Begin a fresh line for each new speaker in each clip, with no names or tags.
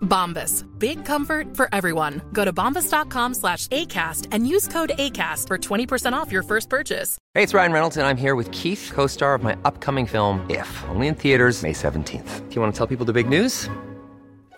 Bombas. Big comfort for everyone. Go to bombas.com slash ACAST and use code ACAST for 20% off your first purchase.
Hey, it's Ryan Reynolds, and I'm here with Keith, co star of my upcoming film, If, only in theaters, May 17th. Do you want to tell people the big news?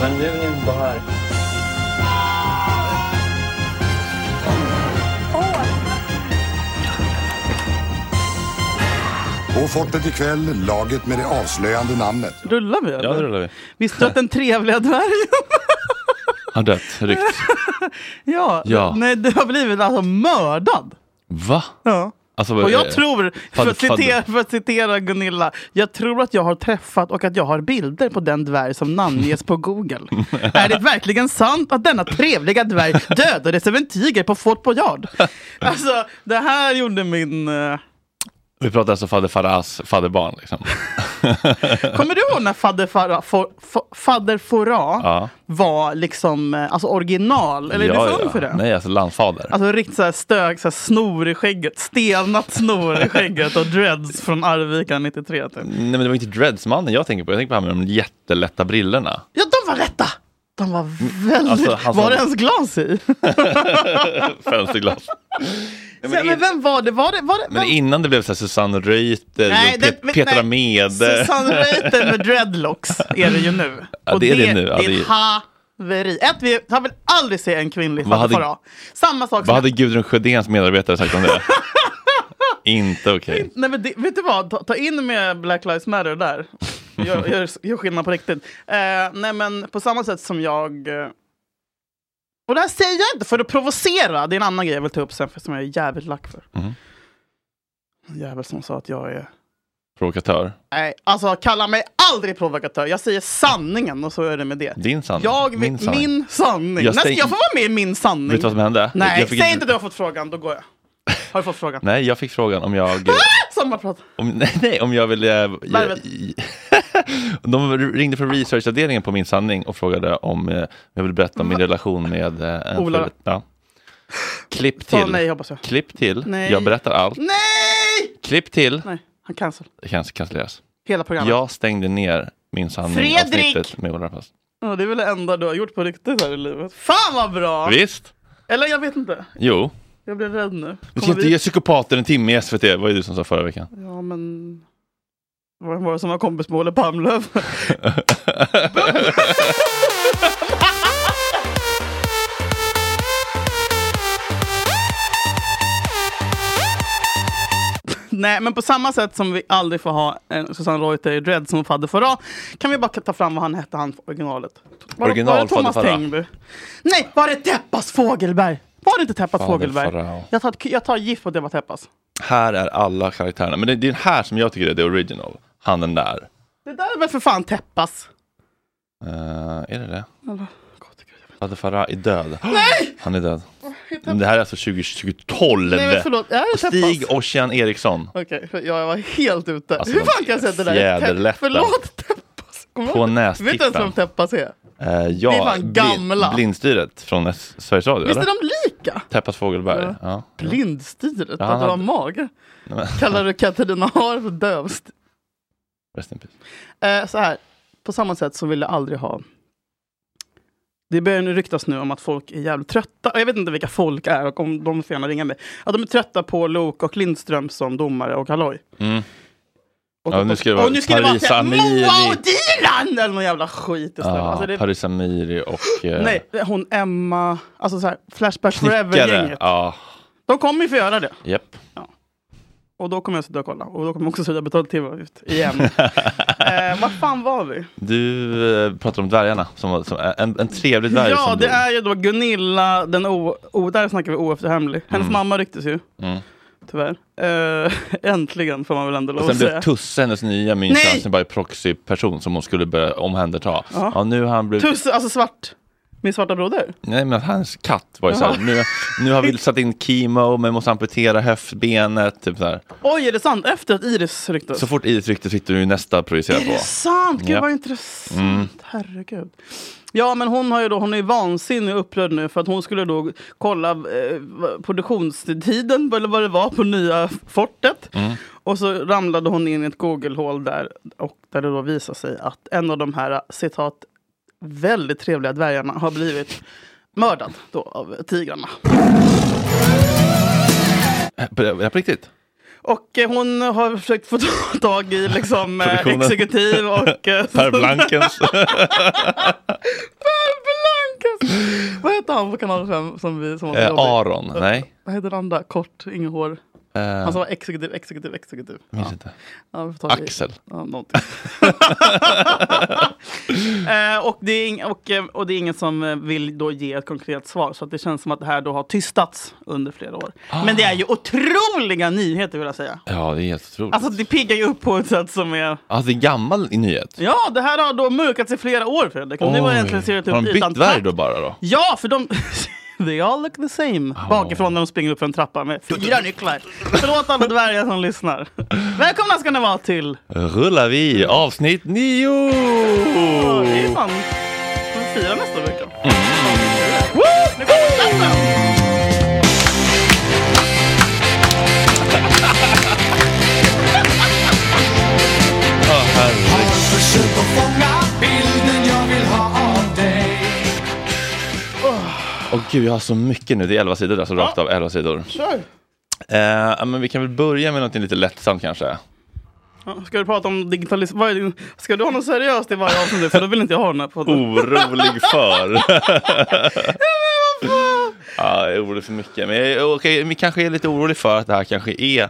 Men nu är ni bara här.
På fortet ikväll, laget med det avslöjande namnet.
Rullar vi eller?
Ja, det rullar vi.
Visste du att den trevliga dvärgen...
Har dött, ryckt.
ja.
Ja.
Nej, du har blivit alltså mördad.
Va?
Ja.
Alltså,
Och jag
eh,
tror, för att,
fadder- fadder.
citera, för att citera Gunilla, jag tror att jag har träffat och att jag har bilder på den dvärg som namnges på Google. är det verkligen sant att denna trevliga dvärg dödades av en tiger på Fort Boyard? Alltså, det här gjorde min... eh,
Vi pratar alltså fader Farahs fadderbarn. Liksom.
Kommer du ihåg när Fader, Farah, for, for, Fader Fora
Ja.
var liksom, eh, alltså original? Eller är
Ja,
du för ung
ja.
för det?
Nej, alltså landfader.
Alltså riktigt såhär stök, såhär snor i skägget, stenat snor i skägget och dreads från Arvika 93 typ.
Nej, men det var inte dreadsmannen jag tänker på. Jag tänker på han med de jättelätta brillorna.
Ja, de var rätta! De var väldigt...
Alltså, han
var
sa-
det ens glas i?
Fönsterglas.
Men, men vem var det? Var det, var det
Men
vem?
innan det blev så här Susanne Reuter,
Nej,
Pe-
det- men-
Petra
nej.
Mede.
Susanne Reuter med dreadlocks är det ju nu.
Ja, det är det nu. Ja,
det
det
är
är-
ett haveri. Ett, vi har väl aldrig se en kvinnlig
Vad hade-
Fatifara. Samma sak som...
Vad hade Gudrun Sjödéns medarbetare sagt om det? inte okej.
Nej, men det, vet du vad? Ta, ta in med Black Lives Matter där. Gör, gör, gör skillnad på riktigt. Eh, nej, men på samma sätt som jag... eh, Och det här säger jag inte för att provocera. Det är en annan grej jag vill ta upp sen, för som jag är jävligt lack för.
Mhm.
En jävel som sa att jag är...
Provokatör.
Nej, alltså kalla mig aldrig provokatör. Jag säger sanningen och så är det med det.
Din sanning.
Jag, min,
Min sanning.
Min sanning.
Jag
Jag,
säger-
jag får vara med i min sanning.
Vet du vad som hände?
Nej,
Jag fick
säg inte du har fått frågan, då går jag. Har du fått frågan? Ah!
Nej, jag fick frågan om jag...
Samma prat.
Om, nej, nej, om jag ville... Jag,
Larvet.
de ringde från researchavdelningen på Min sanning och frågade om eh, jag ville berätta om min relation med... Eh, en
Ola.
förut- Ja. Klipp
Så
till.
nej, hoppas jag.
Klipp till.
Nej.
Jag berättar allt.
Nej!
Klipp till.
Nej, han cancel.
Det kan cancelleras.
Hela programmet.
Jag stängde ner Min sanning
Fredrik!
avsnittet med Ola Rapace.
Ja, det är väl det enda du har gjort på riktigt här i livet. Fan vad bra!
Visst?
Eller jag vet inte.
Jo.
Jag blir rädd nu.
Du ska
Kommer
inte ge psykopater en timme i SVT. Vad är du som sa förra veckan?
Ja, men... Vad var det som var kompis med Olle Palmlöf? Nej, men på samma sätt som vi aldrig får ha en Susanne Reuter i Dread som fadder förra, kan vi bara ta fram vad han hette, han originalet. Var,
Original
var det Thomas
Fadde Farah.
Tengby? Nej, var det Teppas Fågelberg? Var det inte Teppas
Fadde
Fågelberg?
Farah.
Jag tar, jag tar gift på att det var Teppas.
Här är alla karaktärerna. Men det, det är den här som jag tycker är the original. Han den där.
Det där är väl för fan Teppas?
Eh, är det det?
Eller, gott gud, jag vet
Fader Farah är död. Nej! Han är död. Men det här är alltså 2012.
inte. Nej men förlåt, är det
Och Stig
Teppas?
Ossian Eriksson
Okej, för jag var helt ute.
Alltså,
Hur
de
fan kan jag säga det där?
fjäderlättar.
Te- Förlåt Teppas. Kommer
på
du ihåg- Vet du ens
nästippan.
vem Teppas är?
Eh, ja,
Det är fan
Bli-
gamla.
blindstyret från S- Sveriges Radio.
Visst är
Eller?
de lika?
Teppas Fågelberg. Ja.
Blindstyret,
Ja,
att du har
han-
mage. Kallar du Katarina Har för dövst?
Rest in peace.
Eh, så här, på samma sätt så vill jag aldrig ha... Det börjar nu ryktas nu om att folk är jävligt trötta. Och jag vet inte vilka folk är och om de får gärna ringa mig. Att de är trötta på Lok och Lindström som domare och Halloj.
Mm. Ja, nu ska det vara
Och nu ska det vara
Paris
såhär,
Amiri.
Moa och Dilan! Eller någon jävla skit.
Ja,
istället. alltså det,
Paris Amiri och... eh,
nej, hon Emma, alltså såhär, Flashback
Snickare.
Forever-gänget.
Ja,
De kommer ju få göra det.
japp.
Och då kommer jag sitta och kolla. Och då kommer också Frida betala tv-avgift. Igen. eh, vad fan var vi?
Du eh, pratar om dvärgarna, som, var- som, en, en trevlig dvärg
Ja,
som
det
dog.
är ju då Gunilla, den o, o, där snackar vi oefterhämlig. Hennes
Mm.
mamma rycktes ju. Tyvärr. Eh, äntligen får man väl ändå lov
Och sen
att
blev
säga.
Tusse hennes nya
Nej!
minsann bara proxyperson som hon skulle börja omhänderta. Ja. nu har han blivit...
Tusse, alltså svart. Min svarta broder.
Nej men hans katt var ju såhär, nu, nu har vi satt in chemo men måste amputera höftbenet. Typ så, här.
Oj, är det sant? Efter att Iris rycktes?
så fort Iris ryktet fick du ju nästa projicerad
Är
på.
det sant? Gud
Ja. Mm.
vad intressant. Herregud. Ja men hon har ju då, hon är ju vansinnig och upprörd nu för att hon skulle då kolla eh, produktionstiden eller vad det var på nya fortet.
Mm.
Och så ramlade hon in i ett googlehål där och där det då visar sig att en av de här citat väldigt trevliga dvärgarna har blivit mördad då av tigrarna.
Äh, På, ja, på riktigt?
Och eh, hon har försökt få tag i liksom eh,
Produktionen.
exekutiv och eh,
Per Blankens?
Blankas! Vad heter han på kanal 5 som vi som var så
eh,
jobbig?
Aron? Nej?
Vad heter den andra? Kort, inget hår.
Eh,
Han som var exekutiv, exekutiv, exekutiv.
minns inte.
alltså, Ja, vi får ta det.
Axel?
Ja, någonting. eh, och, det är ing- och, eh, och det är ingen som eh, vill då ge ett konkret svar så att det känns som att det här då har tystats under flera år.
Ah.
Men det är ju otroliga nyheter vill jag säga.
Ja, det är helt otroligt.
Alltså det piggar ju upp på ett sätt som är...
Alltså det är en gammal nyhet.
Ja, det här har då mörkats i flera år Fredrik. Och nu har det
Oj.
äntligen ser det
Har
ut
de
utan
bytt värg
takt.
då bara då?
Ja, för de... They all look the same. Bakifrån när de springer upp för en trappa med fyra nycklar. Förlåt alla dvärgar som lyssnar. Välkomna ska ni vara till...
Rullar vi avsnitt nio!
Åh, det är fan... Vi firar nästa vecka. Woo! Nu kommer klappen!
Ja, herregud. Åh gud, jag har så mycket nu. Det är 11 sidor alltså, rakt av 11 sidor.
Kör!
Eh, ja, men vi kan väl börja med något lite lättsamt kanske.
Ja, Ska du prata om digitalisering? Vad är din... Ska du ha något seriöst i varje avsnitt? nu? För då vill inte jag ha den här podden.
Orolig för. ja, jag är orolig för mycket. Men jag, är- okej, men kanske är lite orolig för att det här kanske är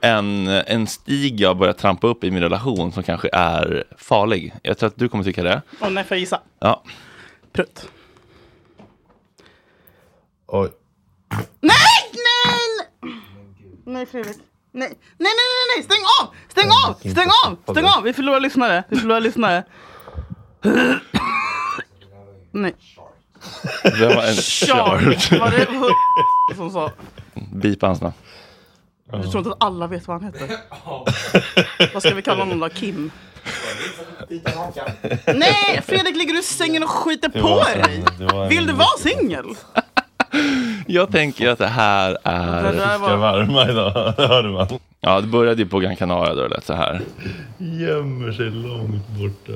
en, en stig jag börjar trampa upp i min relation som kanske är farlig. Jag tror att du kommer tycka det.
Åh nej, får jag gissa?
Ja.
Prutt.
Oj.
Nej! Nej! Nej Fredrik. Nej. nej, nej, nej, nej, stäng av! Stäng av! Stäng av! Stäng av! Vi förlorar lyssnare. Vi förlorar lyssnare. Nej.
Det var en
Charlie. Var det hur- som sa?
Bipa hans namn.
Du tror inte att alla vet vad han heter? Vad ska vi kalla honom då? Kim? Nej! Fredrik ligger du i sängen och skiter på dig? Vill du vara singel?
Jag tänker att det här
Det
är...
där var...
varma idag, hörde man.
Ja, det började ju på Gran Canaria då det lät så här.
Gömmer sig långt borta.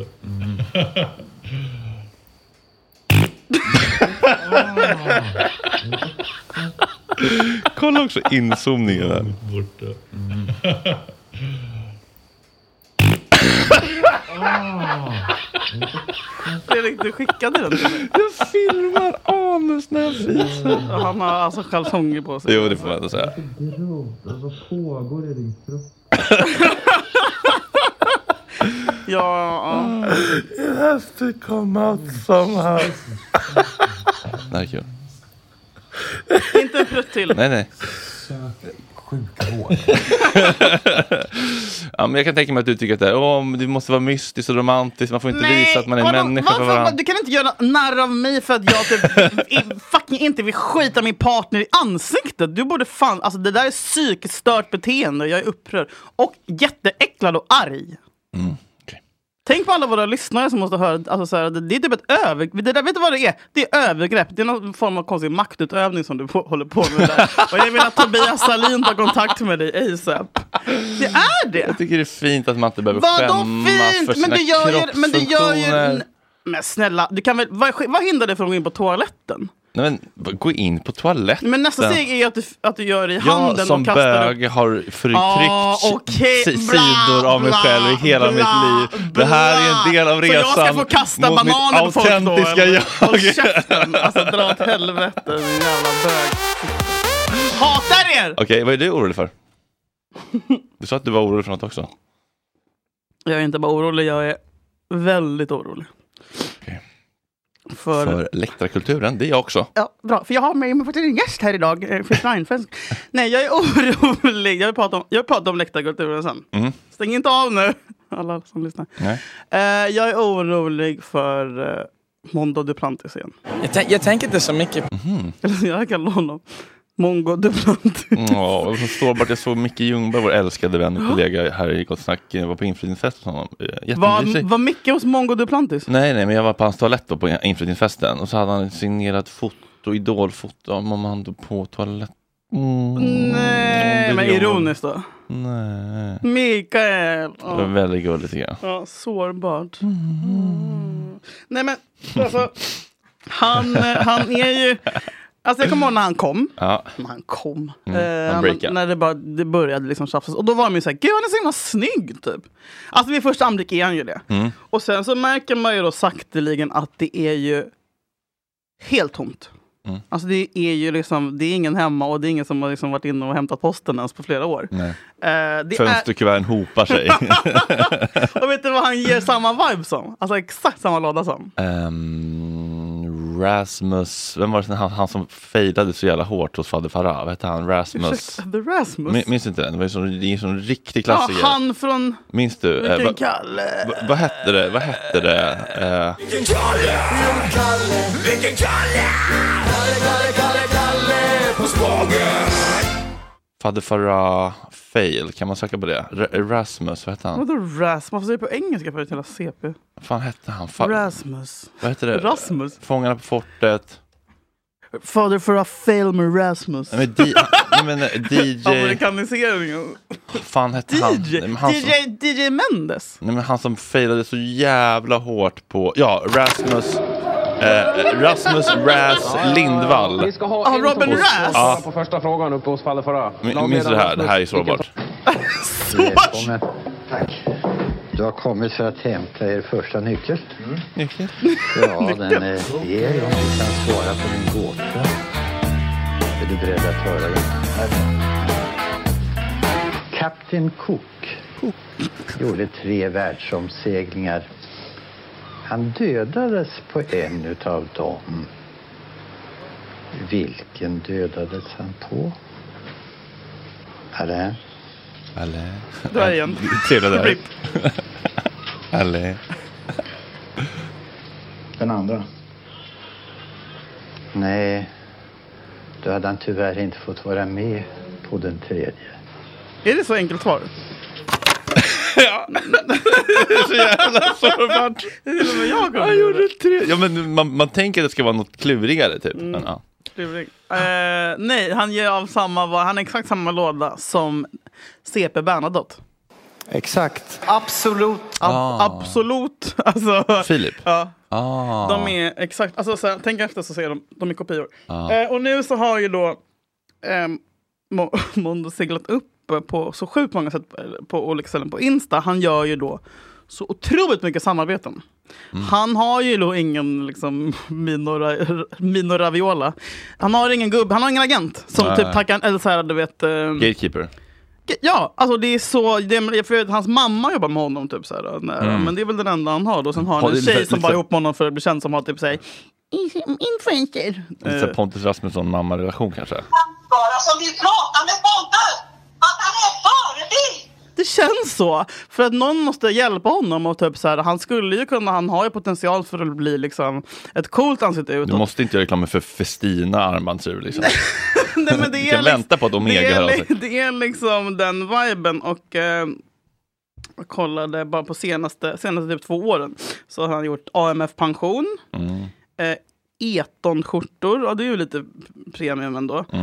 Kolla också inzoomningen där.
Borta.
Fredrik, du skickade den till mig.
Jag filmar anus när jag fiser.
Och Han har alltså kalsonger på sig.
Jo, det får man ändå säga.
Ja, ja.
To come out somehow. Det här är kul.
Inte en prutt till.
Nej, nej. ja, men jag kan tänka mig att du tycker att det, här, åh, men det måste vara mystiskt och romantiskt. Man får inte visa att man är
vadå?
människa för
Varför-
varandra.
Du kan inte göra narr av mig för att jag typ i- fucking inte vill skita min partner i ansiktet. Du borde fan, alltså det där är psykiskt stört beteende. Jag är upprörd och jätteäcklad och arg.
Mm, okej.
Tänk på alla våra lyssnare som måste höra, alltså så här, det, det är typ ett övergrepp. Det där, vet du vad det är? Det är övergrepp. Det är någon form av konstig maktutövning som du på, håller på med där. Och jag vill att Tobias Salin tar kontakt med dig ASAP. Det är det!
Jag tycker det är fint att man inte behöver
Vadå
skämmas för
fint?
sina
Men du gör ju... Men, du gör ju
kroppsfunktioner.
men snälla, du kan väl, vad, vad hindrar dig från att gå in på toaletten?
Nej, men v- gå in på toaletten.
Men nästa steg är ju att du, att du gör det i handen
jag som
och kastar upp.
bög har förtryckt
Ah, okej,
si-
bla,
sidor av mig
bla,
själv i hela
bla,
mitt liv. Det här är en del av
Så jag
resan
ska få kasta
mot mitt
bananer på folk då,
autentiska
eller?
jag.
Håll käften! Alltså dra åt helvete din jävla bög. Hatar er!
Okej, vad är du orolig för? Du sa att du var orolig för något också.
Jag är inte bara orolig, jag är väldigt orolig.
Okej.
För,
För läktarkulturen, det är jag också.
Ja, bra. För jag har med mig faktiskt en gäst här idag, eh, Fritz Reinfeldt. Nej, jag är orolig. Jag vill prata om, jag vill prata om läktarkulturen sen.
Mm.
Stäng inte av nu, alla som lyssnar.
Nej.
Eh, jag är orolig för uh, Mondo Duplantis igen. Mm-hmm.
Jag, tän- jag tänker inte så mycket
Eller som jag kallar honom. Mongo Duplantis.
Mm, Ja, och så står bara att jag såg Micke Ljungberg, vår älskade vän och kollega här i Gott Snack, eh, var på inflyttningsfest hos honom. Eh,
Var,
Jättemysig.
var Micke hos Mongo Duplantis?
Nej, nej, men jag var på hans toalett då på inflyttningsfesten och så hade han ett signerat foto, idolfoto av Mamando på toaletten. Mm,
Nej,
det
Eh, men
gör man.
ironiskt då.
Nej.
Mikael!
Det
Ja.
var väldigt gulligt tycker jag.
Ja, sårbart. Mm. Nej men, alltså. Han, eh, han är ju... Alltså jag kommer ihåg när han kom.
Ja,
När han kom.
Mm. han
eh,
breakade.
när, när det, bara, det började liksom tjafsas. Och då var de ju såhär, gud han är så himla snygg typ. Alltså vid första anblick är han ju det.
Mm.
Och sen så märker man ju då sakteligen att det är ju helt tomt.
Mm.
Alltså det är ju liksom, det är ingen hemma och det är ingen som har liksom varit inne och hämtat posten ens på flera år.
Nej.
Eh, det är,
fönsterkuverten hopar sig.
och vet du vad han ger samma vibe som? Alltså exakt samma låda som.
Ehm, Rasmus, vem var det som- han, han som fejdade så jävla hårt hos Fader Farah? Vad hette han? Rasmus?
Ursäkta, The Rasmus.
Min- Minns du inte den? Det var ju sån- det är en sån riktig
ja,
klassiker.
han från...
Minns du? Eh,
Vilken
vad-
Kalle!
Va- Vad hette det? Vad hette det? Eh, Fader Farah fail, kan man söka på det? R- Erasmus, vad hette han?
Vadå Rasmus? Varför säger du på engelska för ett jävla CP?
Vad fan hette han? Fa-
Rasmus.
vad hette det?
Rasmus?
Fångarna på fortet?
Father for a film Rasmus.
Nej men, D- nej, men eh, DJ...
Amerikaniseringen.
fan hette han?
DJ,
Nej, men han som,
DJ, DJ Mendes.
nej men han som failade så jävla hårt på... Ja, Rasmus... Eh, Rasmus Raz Lindvall.
Ah, Robin Raz!
Ja,
på första frågan uppe hos Falle Farah.
min- minns du det här? Det här är sårbart.
Så-
Du har kommit för att hämta er första nyckel.
Nyckel?
Ja, den är er om du kan svara på min gåta. Är du beredd att höra den? Kapten Cook gjorde tre världsomseglingar. Han dödades på en utav dem. Vilken dödades han på? Alain?
Eller?
Det var igen.
Trevlig där. Eller?
Den andra? Nej, då hade han tyvärr inte fått vara med på den tredje.
Är det så enkelt svar?
Så jävla sårbart.
Till och med jag kunde
Han
göra
gjorde tre. Ja, men man, man tänker att det ska vara något klurigare typ.
Mm.
Men, ja.
Luring. Eh, nej, han ger av samma, va- han har exakt samma låda som CP Bernadotte.
Exakt.
Absolut. Ab- Absolut. Alltså,
Filip.
Ja,
Ah.
de är exakt, alltså, så här, tänk efter så ser de, de är kopior. Eh, och nu så har ju då ehm, Mo- Mondo seglat upp på så sjukt många sätt eh, på olika ställen på Insta. Han gör ju då så otroligt mycket samarbeten.
Mm.
Han har ju då ingen liksom, Mino, Ra- Mino Raviola. Han har ingen gubb, han har ingen agent som
Nej.
typ tackar, eller så här, du vet. ehm,
Gatekeeper.
Ja, alltså det är så, det är, för jag vet, hans mamma jobbar med honom typ så här, nära, men det är väl den enda han har då. Sen har
Ja,
han
Mm. det
en
är lite-
tjej som
lite-
bara är ihop med honom för att bli känd som har typ såhär influencer.
Lite så här Pontus Rasmusson mamma-relation kanske.
bara som vill prata med Pontus. Att han är en förebild.
Det känns så! För att någon måste hjälpa honom och typ så här, han skulle ju kunna, han har ju potential för att bli liksom ett coolt ansikte
Du
utåt.
måste inte göra reklam för Festina armbandsur liksom.
Nej, men det
Du kan
liksom-
vänta på att Omega
det
hör av
är,
sig.
li- det är liksom den viben och eh, jag kollade bara på senaste, senaste typ två åren så har han gjort AMF pension, eh, Eton skjortor, ja det är ju lite premium ändå.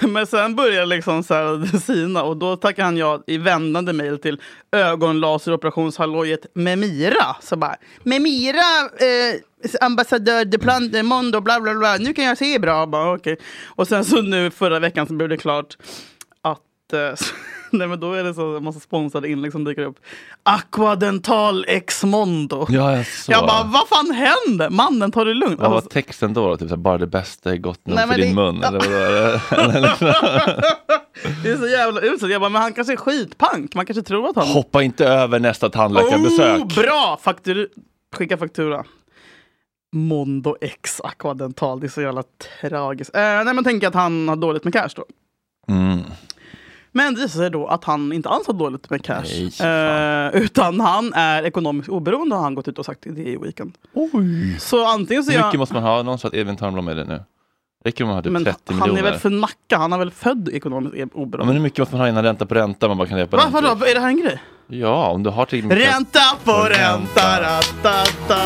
Men sen började liksom så här sina och då tackade han ja i vändande mejl till ögonlaseroperationshallojet Memira. Så bara, Memira, eh, ambassadör de Plan de Mondo, bla bla bla, nu kan jag se bra. Bara, okay. Och sen så nu förra veckan så blev det klart att eh, Nej men då är det så en massa sponsrade inlägg som dyker upp. Aquadental ex mondo.
Ja, jag såg.
Jag bara, vad fan händer? Mannen, ta det lugnt.
Vad var
Alltså,
texten då? då? Typ så här, bara det bästa är gott nog
Nej,
för
men
din
det- Ah.
mun? Eller vadå? Eller- eller liksom,
Det är så jävla uselt. Jag bara, men han kanske är skitpank. Man kanske tror att han...
Hoppa inte över nästa tandläkarbesök.
Oh, bra! Faktur... Skicka faktura. Mondo X Aquadental. Det är så jävla tragiskt. Eh, nej, men tänk att han har dåligt med cash då.
Mm.
Men det visar sig då att han inte alls har dåligt med cash.
Nej,
eh, utan han är ekonomiskt oberoende har han gått ut och sagt i det i Weekend.
Oj.
Så antingen så
Hur
är
mycket
jag...
måste man ha? Någon sa att Edvin Törnblom är det nu. Räcker om man har typ
Men
30
han är
miljoner?
väl för nacka? Han är väl född ekonomiskt e-
Ja, men
oberoende?
hur mycket måste man ha innan ränta på ränta? Man bara kan leva på
Varför
räntor?
då? Är det här en grej?
Ja, om du har till
Ränta på ränta! ra, ta, ta.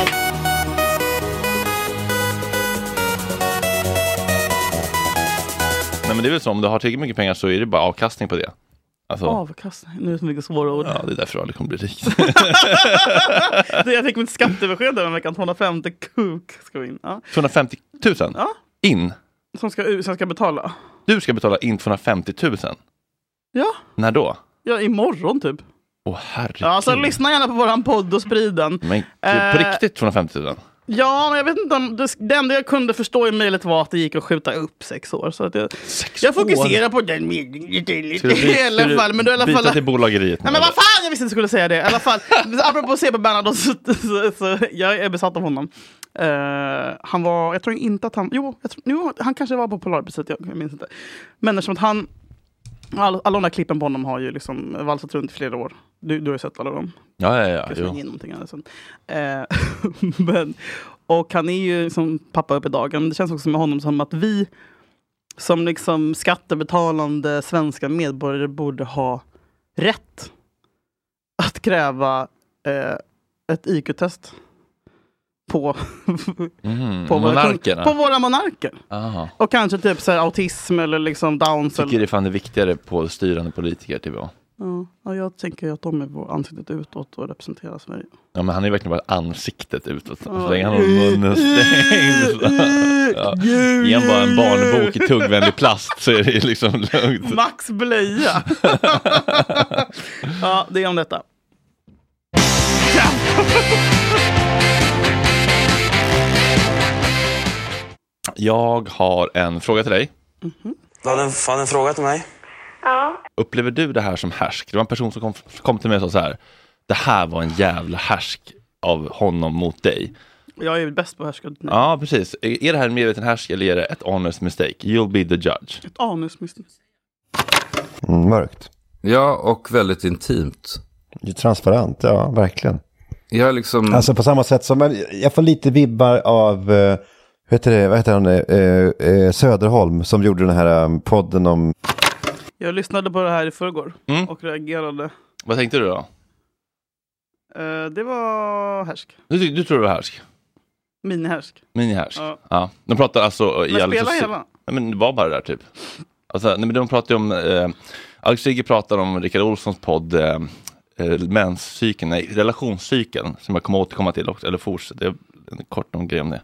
Nej, men det är väl så, om du har tillräckligt mycket pengar så är det bara avkastning på det. Alltså,
Avkastning. Nu är det så mycket svåra ord.
ja, det är därför du aldrig kommer bli rik.
Det- Jag fick mitt skattebesked den veckan. 250 kuk ska in. Ja.
250 000
Ja.
in.
Som, ska, ut- som ska betala.
Du ska betala in 250 000.
Ja.
När då?
ja, imorgon typ.
Åh herregud.
Ja, så lyssna gärna på våran podd och sprid den.
Men gud, på
Eh.
riktigt 250 000?
Ja, men jag vet inte om... Det, det enda jag kunde förstå i mejlet var att det gick att skjuta upp sex år. Så att jag, jag fokuserar på den meningen
Ska du,
i
ska
alla
du
fall. Men du i alla
byta
fall...
till bolageriet nu,
Nej men
eller?
vad fan, jag visste inte skulle säga det. I alla fall, apropå CP Bernadotte, så, så, så, jag är besatt av honom. Eh, han var, jag tror inte att han, jo, jag tror, jo han kanske var på Polarpriset, jag, jag minns inte. Men eftersom att han, all, alla de där klippen på honom har ju liksom valsat runt i flera år. Du, du har ju sett alla dem.
Ja, ja, ja.
Jag slänger
Jo.
in någonting annat sen. Eh, men, och han är ju som pappa upp i dagen. Men Det känns också med honom som att vi som liksom skattebetalande svenska medborgare borde ha rätt att kräva eh, ett IQ-test på,
Mm.
på, våra, kung-
Monarkerna.
på våra monarker.
Aha.
Och kanske typ så här autism eller liksom downs.
Jag tycker
Eller,
det är fan det viktigare på styrande politiker. Typ. ja.
ja, ja, jag tänker att de är på ansiktet utåt och representerar Sverige.
Ja, men han är ju verkligen bara ansiktet utåt. Så länge han har munnen stängd. så- Ja. Ge han bara en barnbok i tuggvänlig plast så är det ju liksom lugnt.
Max blöja. ja, det är om detta. Ja.
Jag har en fråga till dig.
Du hade en, hade en fråga till mig.
Upplever du det här som härsk? Det var en person som kom, kom till mig och sa så här. Det här var en jävla härsk av honom mot dig.
Jag är bäst på härskad. Ja.
Ja, precis. Är det här en medveten härsk eller är det ett honest mistake? You'll be the judge.
Anusmisstag.
Mm, Mörkt.
Ja, och väldigt intimt.
Transparent, ja, verkligen.
Jag liksom...
Alltså på samma sätt som, men jag får lite vibbar av, eh, vad heter, det, vad heter han, eh, eh, Söderholm som gjorde den här eh, podden om...
Jag lyssnade på det här i förrgår
Mm.
och reagerade.
Vad tänkte du då?
Eh, det var härsk.
Du, ty- du tror det var härsk?
Minihärsk.
Minihärsk?
Ja.
Ja. De pratar alltså i
Men
Alex och
spela
Sig-
hela.
Nej, men det var bara det där typ. Alltså, nej, men de pratar ju om, eh, Alex Sigge pratar om Rickard Olssons podd eh, eh, menscykeln, nej, relationscykeln, som jag kommer återkomma till också, eller fortsätta, jag- en kort om grej om det.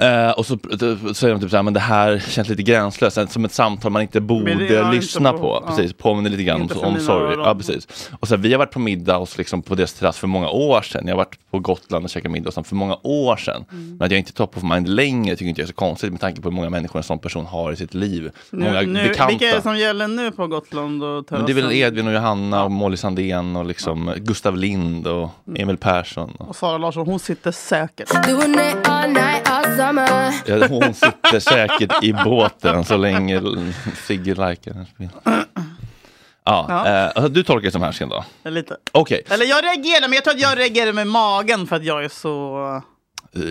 Eh, och så pr- då säger de typ så här, men det här känns lite gränslöst, som ett samtal man inte
Men det
borde
är inte
lyssna
på-
på.
ja.
Precis, påminner lite grann
Inte
om,
för
om
mina
sorry.
öron.
Ja, precis. Och så här, vi har varit på middag hos, liksom, på deras terrass för många år sedan. Jag har varit på Gotland och käkat middag hos dem för många år sedan.
Mm.
Men att jag inte är top of mind längre tycker inte jag är så konstigt med tanke på hur många människor en sån person har i sitt liv. många
Nu, nu,
bekanta.
vilka är det som gäller nu på Gotland och
Men
terrassen?
det är väl Edvin och Johanna och Molly Sandén och liksom Gustav Lind och
Mm.
Emil Persson. Och...
Och Sara Larsson, hon sitter säkert.
Doing it all night, all summer.
Ja, Hon sitter säkert i båten så länge Sigge likar den. Ja,
Ja.
Eh, alltså, du tolkar det som härsken då?
Lite.
Okej,
Eller jag reagerar, men jag tror att jag reagerar med magen för att jag är så...
Eh,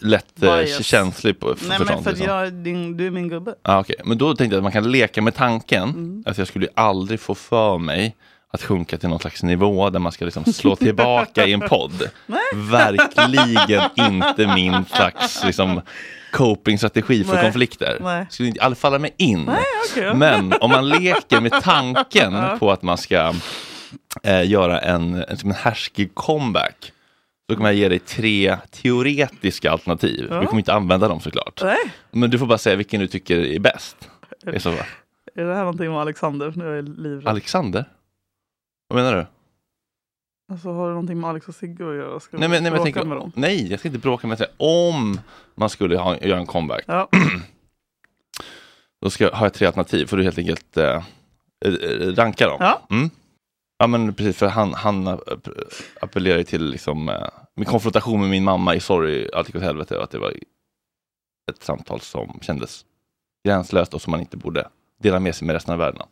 lätt eh,
Bias.
känslig på, för,
Nej,
för
men
sånt.
för att
Liksom.
jag är din, du är min gubbe.
Ah, okej. Men då tänkte jag att man kan leka med tanken
Mm.
att jag skulle ju aldrig få för mig att sjunka till någon slags nivå där man ska liksom slå tillbaka i en podd. Verkligen inte min slags liksom, copingstrategi för
Nej.
konflikter.
Nej.
Skulle inte aldrig falla mig in.
okej.
Men om man leker med tanken
Ja.
på att man ska eh, göra en, en, som en härskig comeback. Då kommer jag ge dig tre teoretiska alternativ.
Ja.
Vi kommer inte använda dem såklart.
Nej.
Men du får bara säga vilken du tycker är bäst. I så fall.
Är det här någonting med Alexander? Nu är jag livrädd.
Alexander? Vad menar du?
Alltså, har det någonting med Alex och Sigge att göra? Ska
Nej, men, nej, men jag
bråka
tänker,
med dem?
nej, jag ska inte bråka med dig. Om man skulle ha, göra en comeback.
Ja.
Då ska, jag- har jag tre alternativ. Får du helt enkelt eh, eh, ranka dem.
Ja.
Mm. ja men precis, för han, han app- appellerar ju till liksom, eh, min konfrontation med min mamma i Sorry, allt gick åt helvete. och Att det var ett samtal som kändes gränslöst och som man inte borde dela med sig med resten av världen av.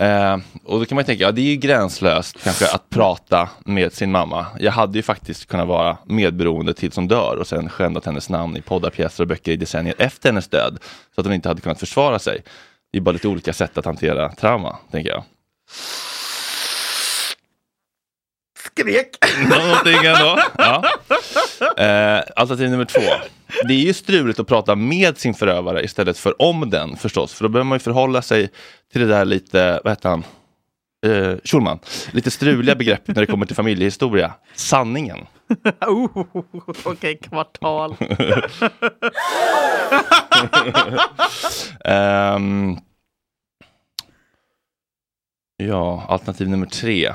Eh, och då kan man ju tänka, ja det är ju gränslöst kanske att prata med sin mamma. Jag hade ju faktiskt kunnat vara medberoende tills hon dör och sen skändat hennes namn i poddar, pjäser och böcker i decennier efter hennes död. Så att hon inte hade kunnat försvara sig. Det är bara lite olika sätt att hantera trauma, tänker jag.
Skrek!
Någonting ändå. Ja. Eh, alternativ nummer två. Det är ju struligt att prata med sin förövare istället för om den förstås. För då behöver man ju förhålla sig till det där lite, vad heter han? Eh, Schulman. Lite struliga begrepp när det kommer till familjehistoria. Sanningen.
oh, Okej, kvartal.
Ehm. ja, alternativ nummer tre.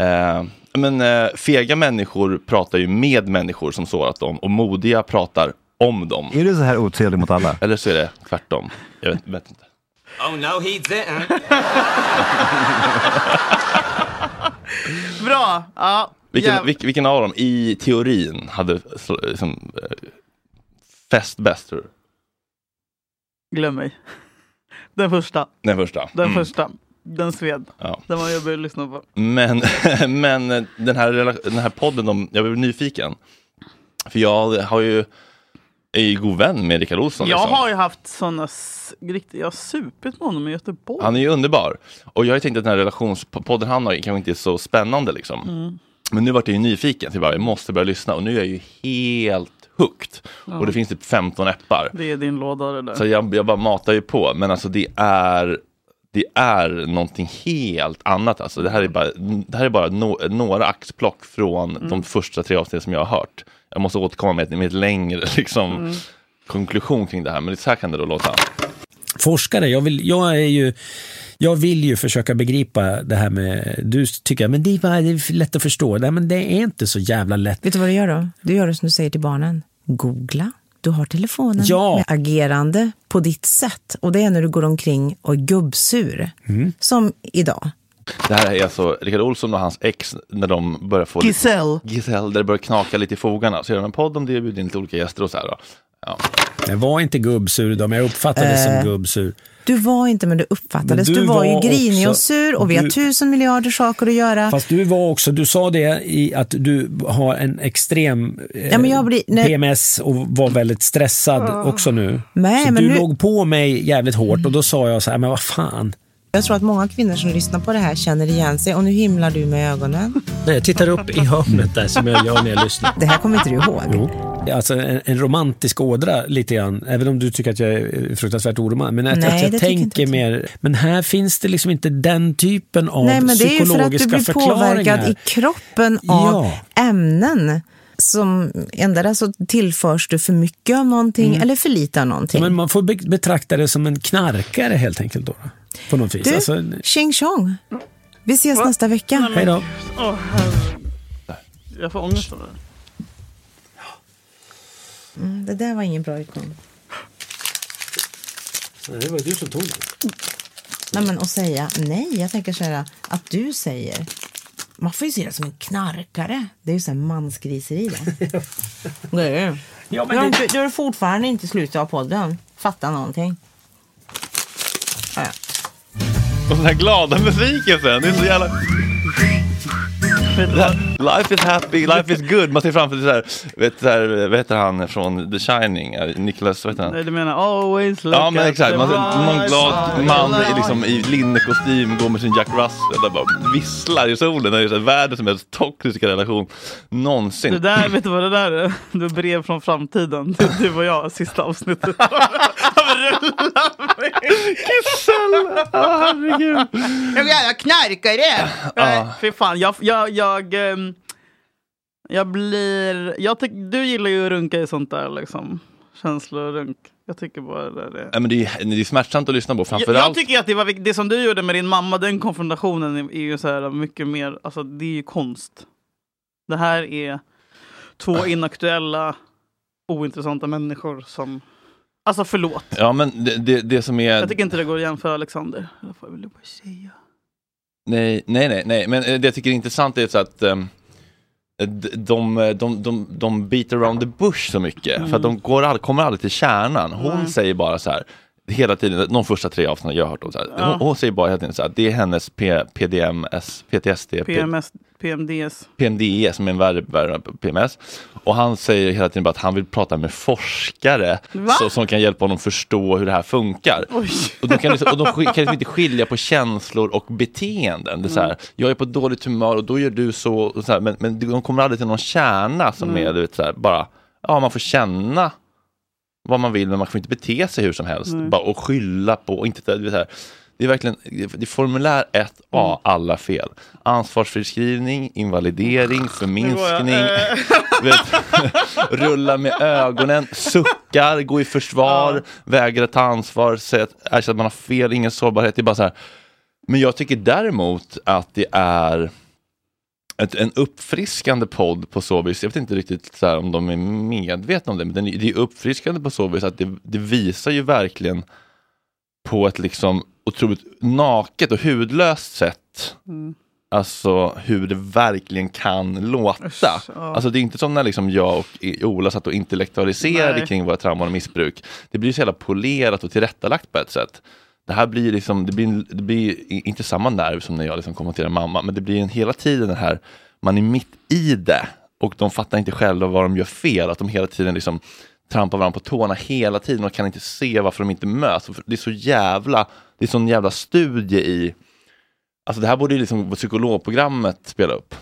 Ehm, men eh, fega människor pratar ju med människor som sårat dem och modiga pratar om dem.
Är du så här otrevlig mot alla?
Eller så är det tvärtom. Jag vet, vet inte.
Oh no, he didn't.
Bra! Ja.
Vilken,
jäv-
vilk- vilken av dem i teorin hade så- liksom, eh, fäst bäst? tror du?
Glöm mig. Den första.
Den första.
Den
Mm.
första. Den sved.
Ja.
Den var jobbig att lyssna på.
Men, men den, här, rela- den här podden, om, jag blev nyfiken. För jag har ju, är ju god vän med Rickard Olsson.
jag
liksom.
har ju haft såna s- riktigt, jag har supit med honom i Göteborg.
Han är ju underbar. Och jag har ju tänkt att den här relationspodden han har kanske inte är så spännande. Liksom.
Mm.
Men nu vart jag ju nyfiken, så jag, bara, jag måste börja lyssna. Och nu är jag ju helt hooked.
Ja.
Och det finns typ 15 appar.
Det är din låda det där.
Så jag, jag bara matar ju på. Men alltså det är, det är någonting helt annat. Alltså det här är bara, det här är bara no, några axplock från
Mm.
de första tre avsnitten som jag har hört. Jag måste återkomma med, ett- med ett längre liksom,
Mm.
konklusion kring det här. Men så här kan det då låta.
forskare. Jag vill, jag, är ju, jag vill ju försöka begripa det här med... Du tycker men det var- det är lätt att förstå. Nej, men det är inte så jävla lätt.
Vet du vad du gör då? Du gör det som du säger till barnen. Googla. Du har telefonen
Ja.
med agerande på ditt sätt. Och det är när du går omkring och är gubbsur. Som idag.
Det här är alltså Rickard Olsson och hans ex när de börjar få...
Giselle.
Giselle, där det börjar knaka lite i fogarna. Så gör de en podd om det, bjuder in lite olika gäster och så här. Då. Ja.
Jag var inte gubbsur idag, men jag uppfattades
Eh.
som gubbsur.
Du var inte men du uppfattades.
Men
du,
du
var,
var
ju grinig
också-
och sur och vi har
du-
tusen miljarder saker att göra.
Fast du var också, du sa det i att du har en extrem eh,
Ja, men jag blir- nej.
PMS och var väldigt stressad också nu.
Nej,
så
men
du
nu-
låg på mig jävligt hårt och då sa jag så här, men vad fan.
Jag tror att många kvinnor som lyssnar på det här känner igen sig och nu himlar du med ögonen.
Nej, jag tittar upp i hörnet där som jag gör när jag lyssnar.
Det här kommer inte du ihåg?
Jo. Alltså en, en romantisk ådra lite grann, även om du tycker att jag är fruktansvärt oromantisk. Men att,
Nej,
att
det
jag
tycker inte
tänker
jag.
mer, men här finns det liksom inte den typen av
Nej, men det är ju för att du
psykologiska
blir påverkad
förklaringar.
i kroppen av
Ja.
ämnen. Som ändå så tillförs du för mycket av någonting
Mm.
eller för lite av någonting.
Ja, men man får be- betrakta det som en knarkare helt enkelt då. då, På något vis.
Du,
Alltså,
tjing tjong. Vi ses nästa vecka.
hej då.
Åh, herre. jag får ångest av det.
Mm, det där var ingen bra utgång.
Det var du som tog det.
Nej, men att säga nej, jag tänker så här att du säger. Man får ju se det som en knarkare. Det är ju så här mansgriseri det. det är det.
Ja, men
du, har
det-
inte, du har fortfarande inte slutat av podden. Fatta någonting. Ja, ja.
Och den här glada musiken sen, det är så jävla... Life is happy, life is good. Man ser framför sig så här, vet, så här, vad heter han från The Shining? Eh, Nicholas, vad heter han?
Nej, Du menar always look
Ja men
at
exakt,
the
man ser någon
bright
glad
side
man
of
i, liksom,
life.
i linnekostym går med sin Jack Russell och bara visslar i solen. Det är ju så här världens mest toxiska relation någonsin.
Det där, vet du vad det där är? Det är brev från framtiden. Det är du och jag, sista avsnittet.
Kissel! Herregud.
Jag vill gärna knarkare!
Ja.
Fy fan, jag... jag, jag ehm, jag blir... Jag tyck, du gillar ju att runka i sånt där liksom. Känslorunk. Jag tycker bara det där är...
Nej, men det, är, det är smärtsamt att lyssna på
Jag, jag
framförallt.
tycker att det, var, vik- det som du gjorde med din mamma, den konfrontationen är, är ju så här mycket mer, alltså det är ju konst. Det här är två inaktuella, ointressanta människor som, alltså förlåt.
Ja men det, det, det som är...
Jag tycker inte det går att jämföra Alexander. Det får jag väl bara
Typ-
säga.
Nej, nej, nej, nej. men eh, det jag tycker är intressant är så att ehm, d- de, eh, de, de, de beat around the bush så mycket, för att de går all, kommer aldrig till kärnan. Hon
Nej.
säger bara så här, hela tiden, de första tre avsnitten jag har hört om, så här,
Ja.
hon, hon säger bara hela tiden så här, det är hennes P, PDMS, PTSD, P-
PMS, PMDS.
PMDE E, som är en värre, värre PMS. Och han säger hela tiden bara att han vill prata med forskare
Va?
så, som kan hjälpa honom förstå hur det här funkar. Och de kan, liksom, och de sk- kan liksom inte skilja på känslor och beteenden. Det är så här,
Mm.
jag är på dåligt humör och då gör du så, och så här, men, men de kommer aldrig till någon kärna som
Mm.
är du vet, så här, bara, ja man får känna vad man vill men man får inte bete sig hur som helst.
Nej.
Bara, och skylla på och inte det är så här. Det är verkligen det är formulär 1A, alla fel. Ansvarsfriskrivning, invalidering, förminskning, vet, rulla med ögonen, suckar, gå i försvar, vägra ta ansvar, säga att, erkänna att man har fel, ingen sårbarhet. Det är bara så här. Men jag tycker däremot att det är ett, en uppfriskande podd på så vis. Jag vet inte riktigt så här, om de är medvetna om det, men den, är- det är uppfriskande på så vis att det, det visar ju verkligen på ett liksom otroligt naket och hudlöst sätt.
Mm.
Alltså hur det verkligen kan låta.
ja.
Alltså det är inte som när liksom jag och I- Ola satt och intellektualiserade
Nej.
kring våra trauman och missbruk. Det blir så jävla polerat och tillrättalagt på ett sätt. Det här blir liksom, det blir, det blir i- inte samma nerv som när jag liksom kommenterar mamma, men det blir en hela tiden den här, man är mitt i det och de fattar inte själva vad de gör fel, att de hela tiden liksom trampar varandra på tårna hela tiden och kan inte se varför de inte möts. Det är så jävla, det är sån jävla studie i, alltså det här borde ju liksom psykologprogrammet spela upp.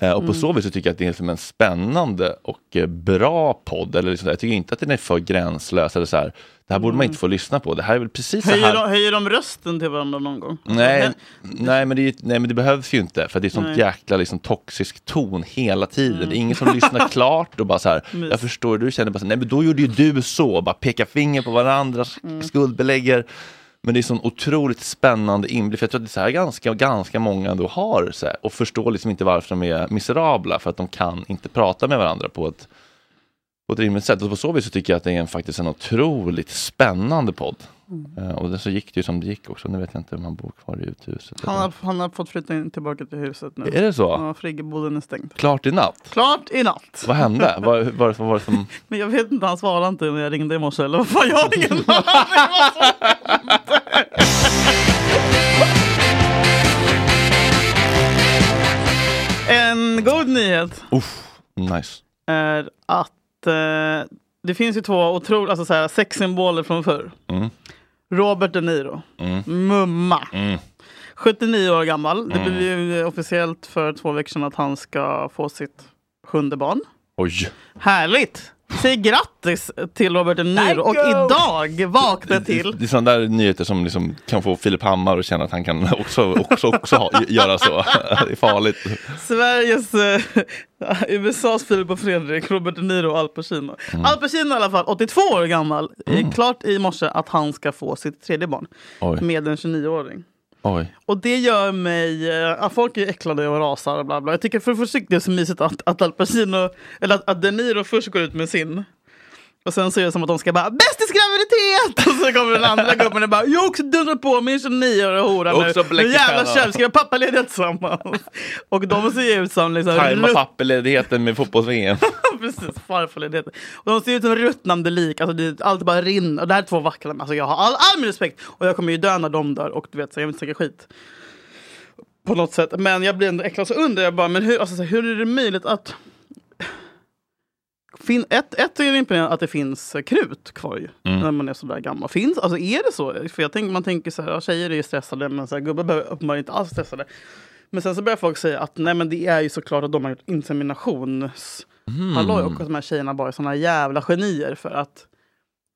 Eh, Och på
Mm.
så vis så tycker jag att det är liksom en spännande och eh, bra podd. Eller liksom, jag tycker inte att den är för gränslös. Eller så här. Det här borde man
Mm.
inte få lyssna på. Det här är väl precis så
Höjer
här.
de, höjer de rösten till varandra någon gång?
Nej, nej, men det, är ju- nej, men det behövs ju inte. För det är sånt
Nej.
jäkla liksom, toxisk ton hela tiden. Det är ingen som lyssnar klart och bara så här.
Mys.
Jag förstår hur du känner. Bara så här, nej, men då gjorde ju du så. Bara peka finger på varandra,
Mm.
skuldbelägger. Men det är sån otroligt spännande inblick. För jag tror att det är så här ganska, ganska många ändå har. Så här, och förstår liksom inte varför de är miserabla. För att de kan inte prata med varandra på ett på ett rimligt sätt. Och på så vis så tycker jag att det är en, faktiskt en otroligt spännande podd.
Mm.
Eh, och det så gick det ju som det gick också. Nu vet jag inte om han bor kvar i uthuset.
Han har, han har fått flytta in tillbaka till huset nu.
Är det så?
Ja, friggeboden är stängd.
Klart i natt.
Klart i natt.
Vad hände? vad, vad, vad var det som...
Men jag vet inte, han svarade inte när jag ringde i morse. Eller vad fan, jag har ingen En god nyhet
Uff, nice.
är att eh, det finns ju två otroliga alltså, så här, sexsymboler från förr.
Mm.
Robert De Niro,
Mm.
mumma.
Mm.
79 år gammal. Det
Mm.
blev ju officiellt för två veckor sedan att han ska få sitt sjunde barn.
Oj.
Härligt! Säg grattis till Robert De Niro och idag vaknade till
Det är sådana där nyheter som liksom kan få Filip Hammar att känna att han kan också, också, också ha, göra så. Det är farligt.
Sveriges, eh, USAs Filip och Fredrik, Robert De Niro och Al Pacino. Al Pacino i alla fall, 82 år gammal, eh, klart i morse att han ska få sitt tredje barn
Oj.
med en 29-åring.
Oj.
Och det gör mig... eh, ja, folk är äcklade och rasar och bla bla. Jag tycker för försiktigt är det så mysigt att, att Al Pacino, eller att, att De Niro först går ut med sin. Och sen så är det som att de ska bara bästis graviditet! Och så kommer den andra gubben och bara jag har också dundrat på min 29-åriga hora nu.
Också
Nu
bläcker
jävla
stjärnan."
tjöv, ska vi ha pappaledighet tillsammans? Och de ser ut som liksom...
Tajma
rutt-
papperledigheten med fotbolls-VM.
Precis, farfarledighet. Och de ser ut som ruttnande lik, alltså, det, allt bara rinner. Och det här är två vackra män. alltså, jag har all, all min respekt. Och jag kommer ju dö när de dör och du vet, så jag vill inte snacka skit. på något sätt. Men jag blir ändå äcklad. Så undrar jag bara, men hur, alltså, så här, hur är det möjligt att... Fin, ett, ett är det imponerande att det finns eh, krut kvar ju,
Mm.
när man är så där gammal. Finns, alltså, är det så? För jag tänker, man tänker så här, ja, tjejer är ju stressade, men så här, gubbar behöver uppenbarligen inte alls stressade. Men sen så börjar folk säga att nej men det är ju såklart att de har gjort inseminations... Halloj, och att de här tjejerna bara är såna jävla genier för att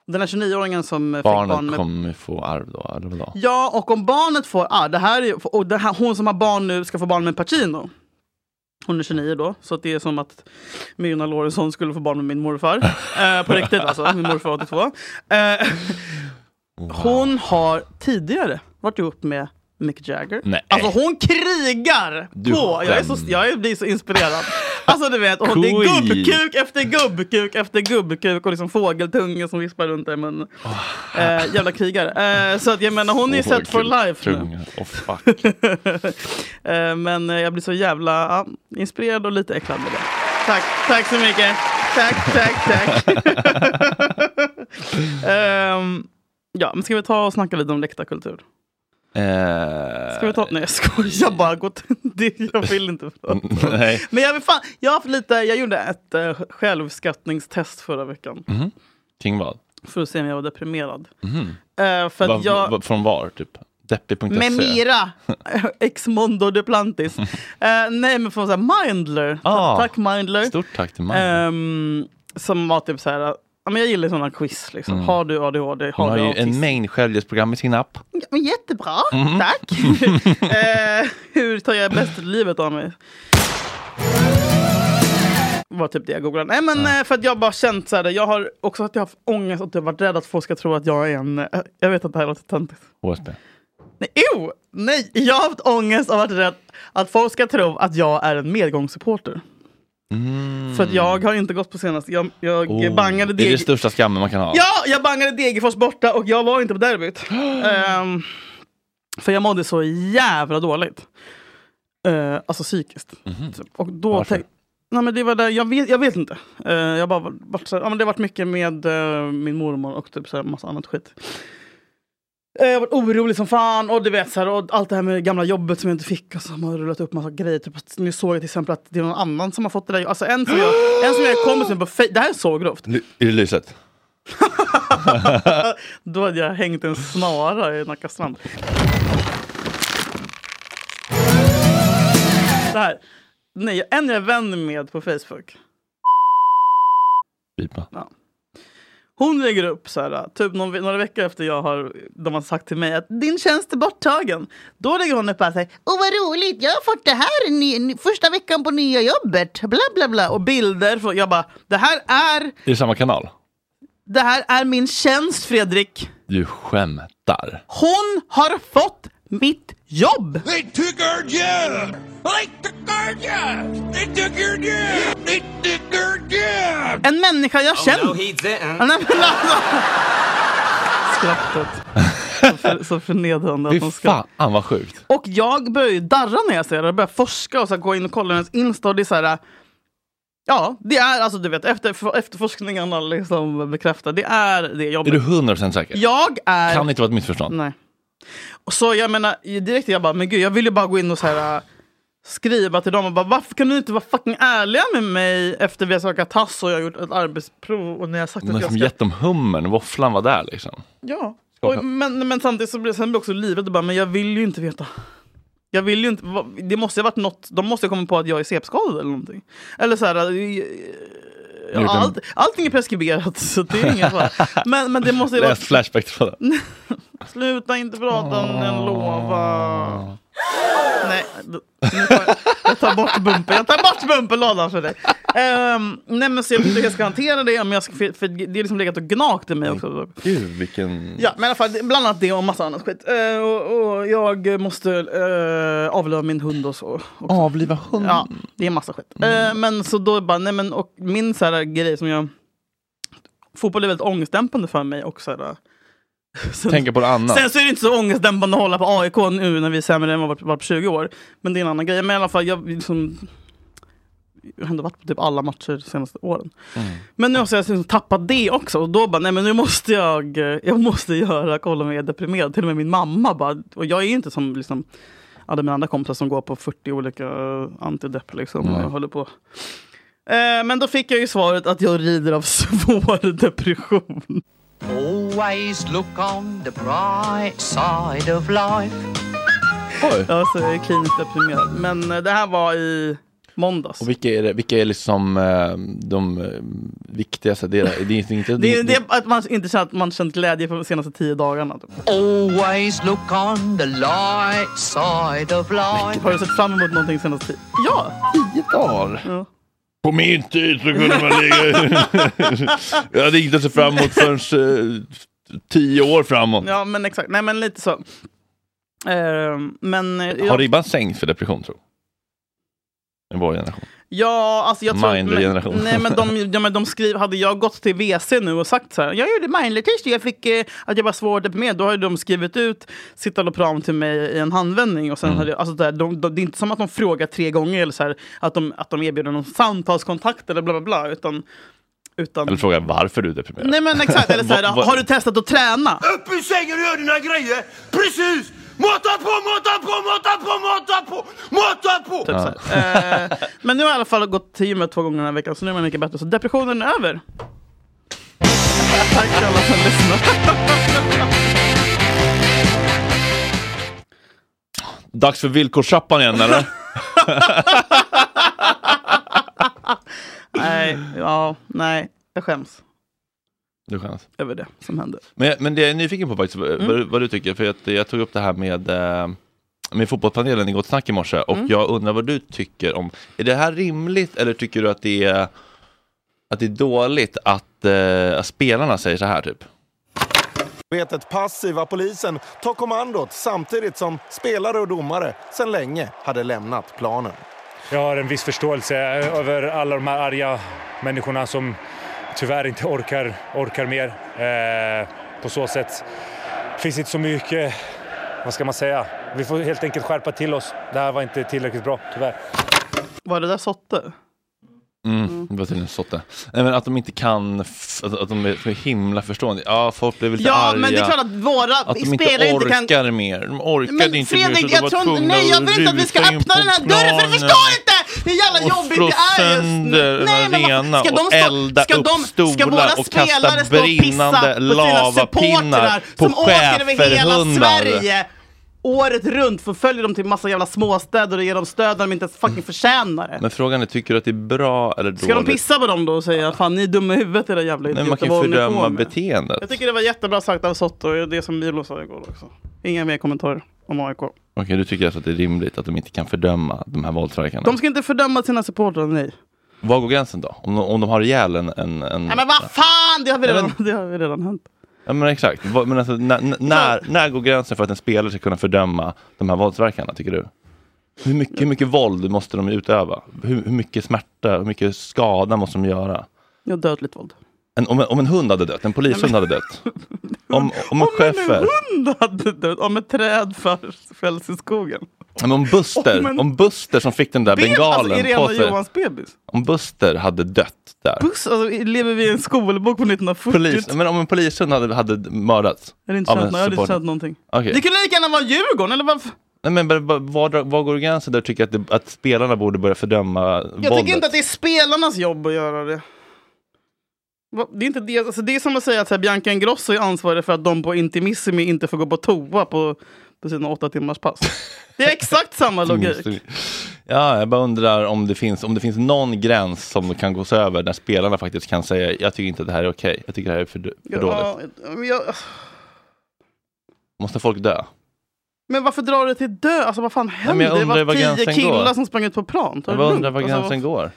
den här 29-åringen som eh, fick
Barnet
barn med
kommer få arv då, eller vadå?
Ja, och om barnet får ah, det här är, ju- och det här, Hon som har barn nu ska få barn med Pacino. Hon är 29 då, så att det är som att Myrna Lorentzon skulle få barn med min morfar. Eh, på riktigt alltså, min morfar 82. Eh, Hon har tidigare varit ihop med Mick Jagger.
Nej.
Alltså hon krigar
Du
på! Jag, är så,
skämtar.
jag blir så inspirerad. Alltså du vet, och hon, det är
Queen.
gubbkuk efter gubbkuk efter gubbkuk och liksom fågeltunga som vispar runt där i munnen. Eh, jävla krigare. Eh, så att jag menar, hon är ju set for life nu.
Tunga. Oh, fuck.
Eh, men eh, jag blir så jävla ja, inspirerad och lite äcklad med det. Tack, tack så mycket. Tack, tack, tack. Ehm, ja, men ska vi ta och snacka lite om läktarkultur?
Eh,
Ska vi ta... Nej, jag skojar bara. Gå till- det, jag vill inte.
Nej.
Men jag vill fan... Jag, har haft lite, jag gjorde ett eh, självskattningstest förra veckan.
Mhm. Kring vad?
För att se om jag var deprimerad.
Mhm.
Eh, för att
Va-
jag...
va- från var? Typ? Deppig.se?
Med mera! Ex mondo duplantis. uh, nej, men från så här Mindler.
Ah,
tack Mindler.
Stort tack till Magnus.
Ehm, som var typ så här, ja, men jag gillar sådana quiz. Liksom.
Mm.
Har du ADHD?
Hon
Har
har
du
ju
autism?
en mängd självhjälpsprogram i sin app.
Ja, men jättebra,
Mhm.
tack! Eh, hur tar jag bäst livet av mig? var typ det jag googlade. Nej men eh, för att jag bara känt så här, jag har också att jag har haft ångest och att jag har varit rädd att folk ska tro att jag är en, eh, jag vet att det här låter töntigt.
HSB.
Nej, ew, nej, jag har haft ångest och varit rädd att folk ska tro att jag är en medgångssupporter. För att jag har inte gått på senaste, jag, jag
Mm. Oh,
bangade
Det är
DG.
det största skammen man kan ha.
Ja, jag bangade Degerfors borta och jag var inte på derbyt. Ehm, för jag mådde så jävla dåligt. Eh, alltså psykiskt. Typ. Och då
Mhm. Varför?
tänk, nej, men det var där, jag, vet, jag vet inte. Eh, jag bara var- vart så här, ja, men det har varit mycket med eh, min mormor och typ så här, massa annat skit. Eh, Jag har varit orolig som fan och du vet så här, och allt det här med det gamla jobbet som jag inte fick. Alltså, man har rullat upp massa grejer. Typ, att nu såg jag till exempel att det är någon annan som har fått det där. Alltså, en som jag, en som jag är kompis med på Facebook. Det här är så grovt.
L- är det lyset?
Då hade jag hängt en snara i Nacka strand. Det här. Nej, en jag är vän med på Facebook.
Pipa.
Ja. Hon lägger upp så här, typ någon, några veckor efter jag har, de har sagt till mig att din tjänst är borttagen. Då lägger hon upp bara så här, åh vad roligt, jag har fått det här ny, ny, första veckan på nya jobbet, bla bla bla. Och bilder, från- jag bara, det här är,
Är det samma kanal?
det här är min tjänst Fredrik.
Du skämtar.
Hon har fått mitt jobb!
They took our job! They took our job! They took your job! They took our job!
En människa jag
Oh, no,
känner!
he didn't.
Ja, nej, men alltså. Skrattet. Så, för, så förnedrande att
Fy
hon skrattar.
fan vad sjukt.
Och jag börjar ju darra när jag ser det. Jag börjar forska och så här, gå in och kolla hennes Insta. Och det är så här, äh, ja, det är alltså du vet, efter, efterforskningarna liksom bekräftar. Det är det
Är
jobbet.
du 100% säker?
Jag är...
Kan inte vara ett missförstånd.
Nej. Och så jag menar, direkt jag bara, men gud, jag vill ju bara gå in och så här, äh, skriva till dem och bara, varför kan du inte vara fucking ärliga med mig efter vi har sökat tass och jag har gjort ett arbetsprov och när jag har sagt
Men
att jag
som
ska...
gett dem hummen, våfflan var där liksom.
Ja.
Skaka.
Och, men, men samtidigt så blir, sen blir också livet och bara, men jag vill ju inte veta. Jag vill ju inte, va- det måste ju ha varit något, de måste ha kommit på att jag är CP-skadad eller någonting. Eller så här, äh,
gjort en-
allt, allting är preskriberat så det är ingen fara. Men, men det måste ju ha
Läst
varit,
Flashback till det.
sluta inte prata om den, lova. Nej, nu tar jag, jag tar bort bumper. Jag tar bort bumperlådan för dig. Ehm, nej men så jag vet inte hur jag ska hantera det. Men jag ska, för, för det har liksom legat och gnagt i mig också.
Gud vilken...
Ja, men i alla fall, det- bland annat det och massa annat skit. Eh, och, och jag måste eh, avlöva min hund och så. Också.
Avliva hund?
Ja, det är massa skit. Eh, men så då bara, nej men och min så här grej som jag... Fotboll är väldigt ångestdämpande för mig och så här,
Tänka på det annat.
Sen så är det inte så ångestdämpande att hålla på AIK nu när vi är sämre än vad vi varit på 20 år. Men det är en annan grej. Men i alla fall, jag, liksom, jag har ändå varit på typ alla matcher de senaste åren. Men nu har jag liksom tappat det också. Och då bara, nej men nu måste jag, jag måste göra, kolla om jag är deprimerad. Till och med min mamma bara, och jag är ju inte som liksom hade mina andra kompisar som går på 40 olika eh, antidepp liksom.
Mm.
Och håller på. Eh, men då fick jag ju svaret att jag lider av svår depression.
Always look on the bright side of life.
Oj. Alltså, jag är kliniskt deprimerad. Men eh, det här var i måndags.
Och vilka är, det, vilka är liksom eh, de eh, viktigaste delarna? Det är inte...
Det är, det är att man inte känner att man känt glädje för de senaste tio dagarna. Typ.
Always look on the light side of life.
Har du sett fram emot någonting senaste tiden? Ja!
Tio dagar?
Ja.
På min tid så kunde man ligga... jag hade inte sett fram emot förrän eh, tio år framåt.
Ja, men exakt. Nej, men lite så. Ehm, men eh,
Har
jag,
ribban sänkts för depression tror du? I vår generation?
ja, alltså jag tror...
Mindler-generation.
Men, nej, men de, ja, men de skriver, hade jag gått till WC nu och sagt så här, jag gjorde mindler-test och jag fick eh, att jag var svår deprimerad, då har ju de skrivit ut citalopram till mig i en handvändning. Och sen
Mm.
hade jag, alltså det, här, de, de, det är inte som att de frågar tre gånger eller så här, att, de, att de erbjuder någon samtalskontakt eller bla bla bla, utan... utan
Eller fråga varför du är deprimerad?
Nej men exakt, eller så här,
Vad- vad-
har du testat att träna?
Upp ur sängen och gör dina grejer! Precis! Mata på, mata på, mata på, mata på, mata på!
Typ så här. Eh, men nu har jag i alla fall gått till gymmet två gånger den här veckan, så nu är man mycket bättre. Så depressionen är över. Tack till alla som lyssnar.
Dags för villkorstrappan igen eller?
nej, ja, nej, jag skäms
Du skäms.
över det som hände.
Men, jag- men det jag är nyfiken på faktiskt,
Mm.
vad- vad, du- vad du tycker, för att jag tog upp det här med, eh, med fotbollspanelen i Gott Snack i morse och
Mm.
jag undrar vad du tycker om, är det här rimligt eller tycker du att det är, att det är dåligt att, eh, att spelarna säger så här typ?
Vetet passiva polisen tar kommandot samtidigt som spelare och domare sedan länge hade lämnat planen.
Jag har en viss förståelse över alla de här arga människorna som tyvärr inte orkar, orkar mer. Eh, på så sätt finns inte så mycket, vad ska man säga, vi får helt enkelt skärpa till oss. Det här var inte tillräckligt bra, tyvärr.
Var det där sotte?
Mm, det var tydligen sotte. Nej men att de inte kan, f- att, att de är så himla förstående. Ja, folk blev lite
Ja,
arga.
men det är klart att våra
Att de inte
spelare inte
orkar
kan...
mer. De orkade inte mer
Fredrik,
så de var
jag tror inte,
tvungna
nej, jag
att
vill inte att vi ska
rusa in
öppna
på
den här dörren för du
planen.
förstår inte hur jävla
Och
jobbigt
slå
det är just nu.
sönder en
men vad-
arena
ska de
och
stå-
elda
ska
upp
de- ska våra
stolar och kasta
spelare stå och pissa
brinnande
på sina
lavapinnar
supportrar
på
som åker över hela
schäferhundar?
Sverige året runt, förföljer dem till massa jävla småstäder och ger dem stöd när de inte ens fucking förtjänar det.
Men frågan är, tycker du att det är bra eller dåligt?
Ska de pissa på dem då och säga fan ni är dumma i huvudet era jävla
Nej,
idioter,
man kan
vad
ju
håller ni på
fördöma
med?"
beteendet.
Jag tycker det var jättebra sagt av Soto och det som Milo sa igår också. Inga mer kommentarer om AIK.
Okej, du tycker alltså att det är rimligt att de inte kan fördöma de här våldsverkarna?
De ska inte fördöma sina supportrar, nej.
Var går gränsen då? Om de, om de har ihjäl en... en, en...
Nej men vad fan, det har vi
Nej,
redan, det har vi redan hänt.
Ja, men exakt. Vad- Men alltså, när, när- när, när går gränsen för att en spelare ska kunna fördöma de här våldsverkarna, tycker du? Hur mycket, hur mycket våld måste de utöva? Hur, hur mycket smärta, hur mycket skada måste de göra?
Ja, dödligt våld.
En, om, en- om en hund hade dött, en polishund hade dött. Om, om en schäffer,
Hund Mm, hade dött om ett träd för- fälls i skogen.
Ja, men om Buster,
Om en-
om Buster som fick den där
Be- alltså,
bengalen
Irena
på sig.
Johans bebis.
Om Buster hade dött där.
Buss, alltså, lever vi i en skolbok på 1940?
Polis, men om en polishund hade, hade mördats.
Jag hade inte
av en
känt, jag hade inte
supporter.
känt någonting.
Okej.
Det kunde lika gärna vara Djurgården eller varför?
Nej, men bara- bara- var, drar- var går gränsen där du tycker att, det, att spelarna borde börja fördöma
Jag
våldet?
tycker inte att det är spelarnas jobb att göra det. Va- Det är, inte det, alltså det är som att säga att så här, Bianca Ingrosso är ansvarig för att de på Intimissimi inte får gå på toa på, på sina åtta timmars pass. Det är exakt samma logik.
Ja, jag bara undrar om det, finns, om det finns någon gräns som kan gås över när spelarna faktiskt kan säga jag tycker inte att det här är okej, jag tycker det här är för, för dåligt.
Ja, men jag,
Måste folk dö?
Men varför drar du till dö? Alltså vad fan
men
händer?
jag
det
undrar var
var tio
gränsen går.
killar som sprang ut på plan. Ta
Jag
det
bara
lugnt.
undrar var
Alltså,
gränsen går.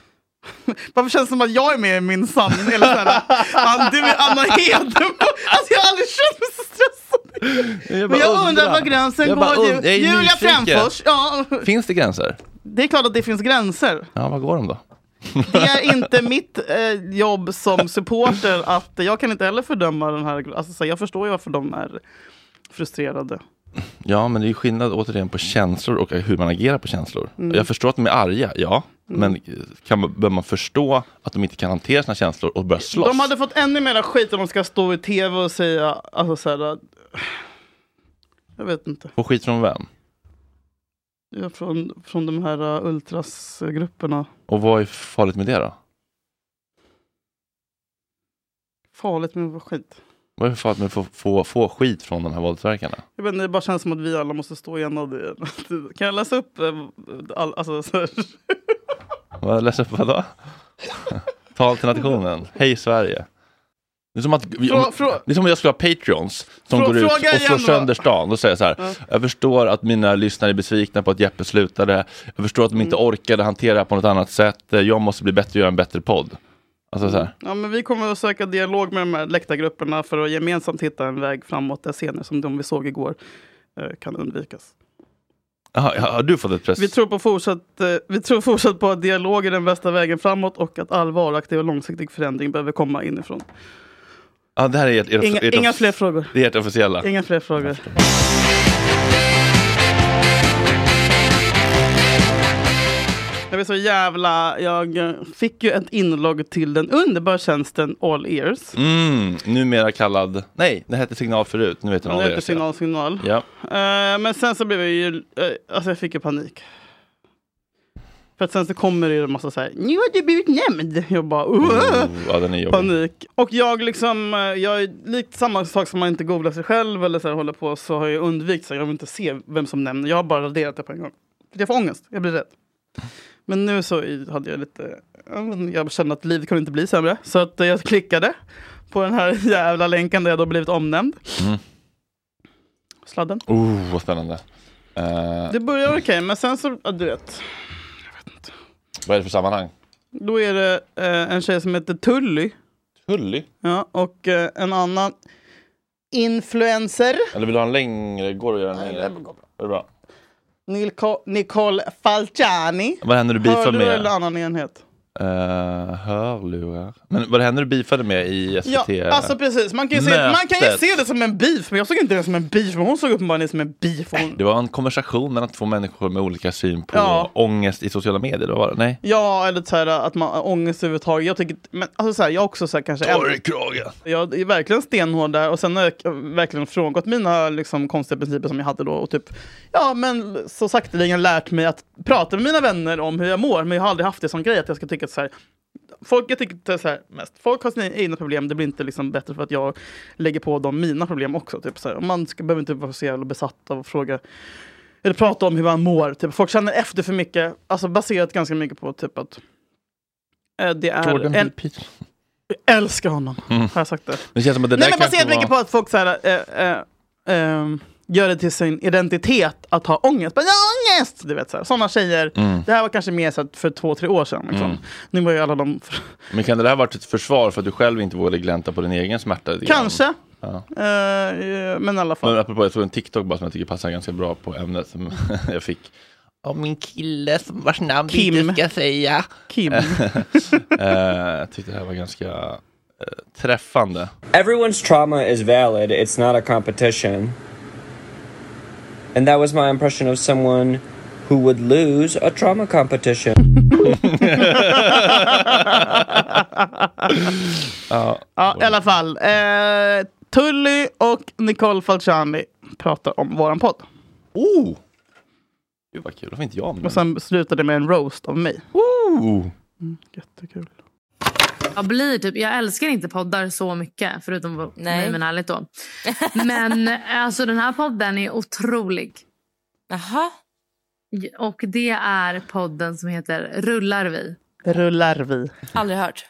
Varför känns det som att jag är med i min sanning? Eller så här, "Fan, du är Anna Hedemo. Alltså jag har aldrig känt mig så stressad.
Jag
men
bara
jag undrar var gränsen
Jag bara
går.
und- jag är
Julia
nyfiken.
Fränfors. Ja.
Finns det gränser?
Det är klart att det finns gränser.
Ja, var går de då?
Det är inte mitt eh, jobb som supporter att jag kan inte heller fördöma den här. Alltså, så jag förstår ju varför de är frustrerade.
Ja, men det är ju skillnad återigen på känslor och hur man agerar på känslor.
Mm.
Jag förstår att de är arga, ja.
Mm.
Men kan man, bör man förstå att de inte kan hantera sina känslor och börja slåss?
Alltså-
De hade fått ännu mer skit om de ska stå i tv och säga, alltså så här, jag vet inte.
Får skit från vem?
Ja, från, från de här uh, ultrasgrupperna.
Och vad är farligt med det då?
Farligt men vad skit.
Vad är det för farligt med att få, få, få skit från de här våldsverkarna?
Jag vet, inte, det bara känns som att vi alla måste stå enade. Kan jag läsa upp? eh, All, alltså, så här.
Vad- Läs upp vadå? Tal till nationen. Hej Sverige. Det är som att, vi, om,
Frå- frå-
det är som om jag skulle ha patreons som
Frå-
går ut och
fråga igen
slår
då.
sönder stan och säger så här. Jag förstår att mina lyssnare är besvikna på att Jeppe slutade. Jag förstår att de
Mm.
inte orkade hantera det här på något annat sätt. Jag måste bli bättre och göra en bättre podd. Alltså så här.
Ja, men vi kommer att söka dialog med de här läktargrupperna för att gemensamt hitta en väg framåt där scener som de vi såg igår eh, kan undvikas.
Aha, har du fått ett press?
Vi tror, på fortsatt, eh, vi tror fortsatt på att dialog är den bästa vägen framåt och att all varaktig och långsiktig förändring behöver komma inifrån.
Ja, det här är ert, ert,
Inga,
ert,
inga fler frågor.
Det är ert officiella.
Inga fler frågor. Jag blir så jävla... Jag fick ju ett inlogg till den underbara tjänsten All Ears.
Mm, numera kallad... Nej, det hette signal förut. Nu heter
Den
den All
heter
Ears,
Signal Signal.
Ja.
Eh, men sen så blev jag ju... eh, alltså jag fick ju panik. För att sen så kommer det ju en massa så här... Nu har du blivit nämnd! Jag bara... "Åh!"
Oh, Ja, den är jobbig.
Panik. Och jag liksom, eh, jag är lite samma sak som man inte googlar sig själv eller så här håller på så har jag undvikit så jag vill inte se vem som nämner. Jag har bara raderat det på en gång. För jag får ångest, jag blir rädd. Men nu så i- hade jag lite, ja, men jag kände att livet kunde inte bli sämre. Så att eh, jag klickade på den här jävla länken där jag då blivit omnämnd.
Mm.
Sladden.
Oh, vad spännande. Eh,
Det börjar okej, men sen så, ja, du vet.
Vad är det för sammanhang?
Då är det eh, en tjej som heter Tully.
Tully?
Ja, och eh, en annan influencer.
Eller vill du ha en längre? Går det att göra en längre? Det går bra. Är det bra?
Nilko- Nicole Falciani.
Vad händer du beefar
Hörde du
med?
eller annan enhet?
Eh, hörlurar. Men vad det hände du beefade med i
Ja,
SVT?
alltså precis. Man kan, ju se, man kan ju
Mötet.
se det som en beef, men jag såg inte det som en beef. Men hon såg uppenbarligen det som en beef. Hon,
Det var en konversation mellan två människor med olika syn på
Ja.
ångest i sociala medier. eller vad Var det? Nej?
ja, eller så här, att man har ångest överhuvudtaget. Jag tycker, men alltså så här, jag har också så här, kanske...
Ta dig i kragen!
Jag är verkligen stenhård där och sen har jag verkligen frångått mina liksom, konstiga principer som jag hade då och typ, ja men så sakteligen lärt mig att prata med mina vänner om hur jag mår men jag har aldrig haft det som grej att jag ska tycka att så här, folk, jag tycker inte så här mest, folk har sina egna problem, det blir inte liksom bättre för att jag lägger på dem mina problem också. Typ, så här. Man ska, behöver inte vara så jävla besatt av att fråga eller prata om hur man mår. Typ. Folk känner efter för mycket, alltså baserat ganska mycket på typ att eh, det är
Jordan B.
en... Jag älskar honom.
Mm.
Har jag sagt det?
Det känns som att det
Nej,
där
men baserat
kanske
mycket på
var...
att folk så här, eh, eh, ehm, gör det till sin identitet att ha ångest. Bara, jag har ångest! Du vet, så här. sådana tjejer.
Mm.
Det här var kanske mer så här, för två, tre år sedan. Liksom.
Mm.
Nu var ju alla de...
Men kan det där ha varit ett försvar för att du själv inte vågade glänta på din egen smärta? lite grann?
Kanske.
Ja.
Eh, men i alla fall.
Men apropå, jag såg en TikTok bara som jag tycker passar ganska bra på ämnet som jag fick. Av min kille som vars namn vi
Kim.
inte ska säga.
Kim.
Eh, jag tyckte det här var ganska eh, träffande.
Everyone's trauma is valid, it's not a competition. And that was my impression of someone who would lose a trauma competition.
Ja, i alla fall. Eh, Tully och Nicole Falciani pratar om våran podd.
Oh! Gud vad kul, varför inte jag med?
Och sen slutade det med en roast av mig.
Oh!
Jättekul.
Jag blir typ, jag älskar inte poddar så mycket, förutom vad-
Nej.
Nej. men ärligt då. Men alltså den här podden är otrolig. Jaha? Och det är podden som heter Rullar vi.
Rullar vi.
Aldrig hört.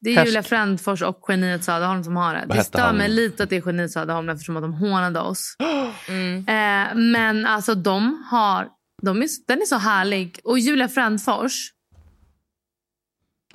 Det är
Härsk.
Julia Frändfors och geniet Söderholm som har det.
Vad
det
hette
stör
han?
mig lite att det är geniet Söderholm eftersom att de hånade oss. Eh, men alltså de har, de är, den är så härlig. Och Julia Frändfors,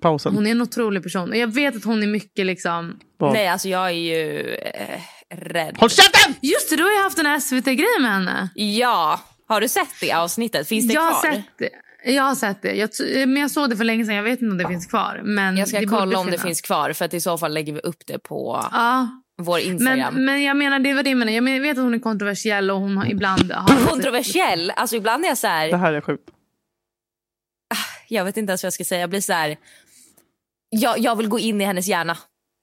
Pausen.
hon är en otrolig person. Och jag vet att hon är mycket liksom...
Vad? Nej,
alltså jag är ju
Eh,
rädd.
Håll käften!
Just det, du har ju haft den här SVT-grejen med henne.
Ja, har du sett det avsnittet? Finns det
jag
kvar?
Har sett det. Jag har sett det. Jag, t- men jag såg det för länge sedan. Jag vet inte om det finns kvar. Men
Jag ska
det borde
kolla om det
finnas.
finns kvar för att i så fall lägger vi upp det på
Ja.
vår Instagram.
Men, men jag menar, det var det jag menar. Jag menar, jag vet att hon är kontroversiell och hon har ibland... Har
Kontroversiell, alltså ibland är jag så här,
Det här är sjukt.
jag vet inte ens vad jag ska säga, jag blir så här, jag, jag vill gå in i hennes hjärna.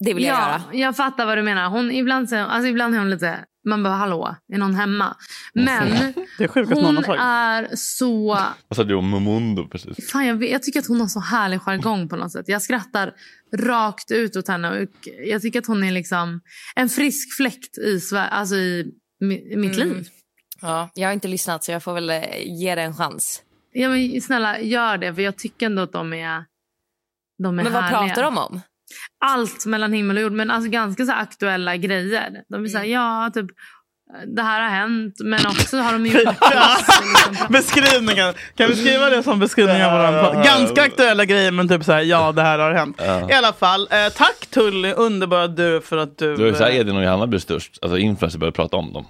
Det vill jag
ja,
göra.
jag fattar vad du menar. Hon, ibland, så- alltså, ibland är hon lite Man bara, hallå, är någon hemma? Men
Det är sjukast någon har
hon
sagt.
är så...
Vad sa du om Mumundo precis?
Fan, jag, vet- jag tycker att hon har så härlig jargong på något sätt. Jag skrattar rakt ut åt henne. Och jag tycker att hon är liksom en frisk fläkt i, Sver- alltså i mi- i mitt
Mm.
liv.
Ja, jag har inte lyssnat så jag får väl eh, ge det en chans.
Ja, men snälla, gör det. För jag tycker ändå att de är de är
Men vad
härliga.
pratar de om?
Allt mellan himmel och jord. Men alltså ganska så här aktuella grejer. De är så här, ja, typ det här har hänt. Men också har de gjort...
Beskrivningen. Kan vi skriva det som beskrivning av våran podd? Ganska aktuella grejer men typ såhär, ja det här har hänt.
Ja.
I alla fall, eh, tack Tully, underbara du för att du...
Det var ju så här
eh,
Edvin och Johanna blev störst, alltså influencers började prata om dem.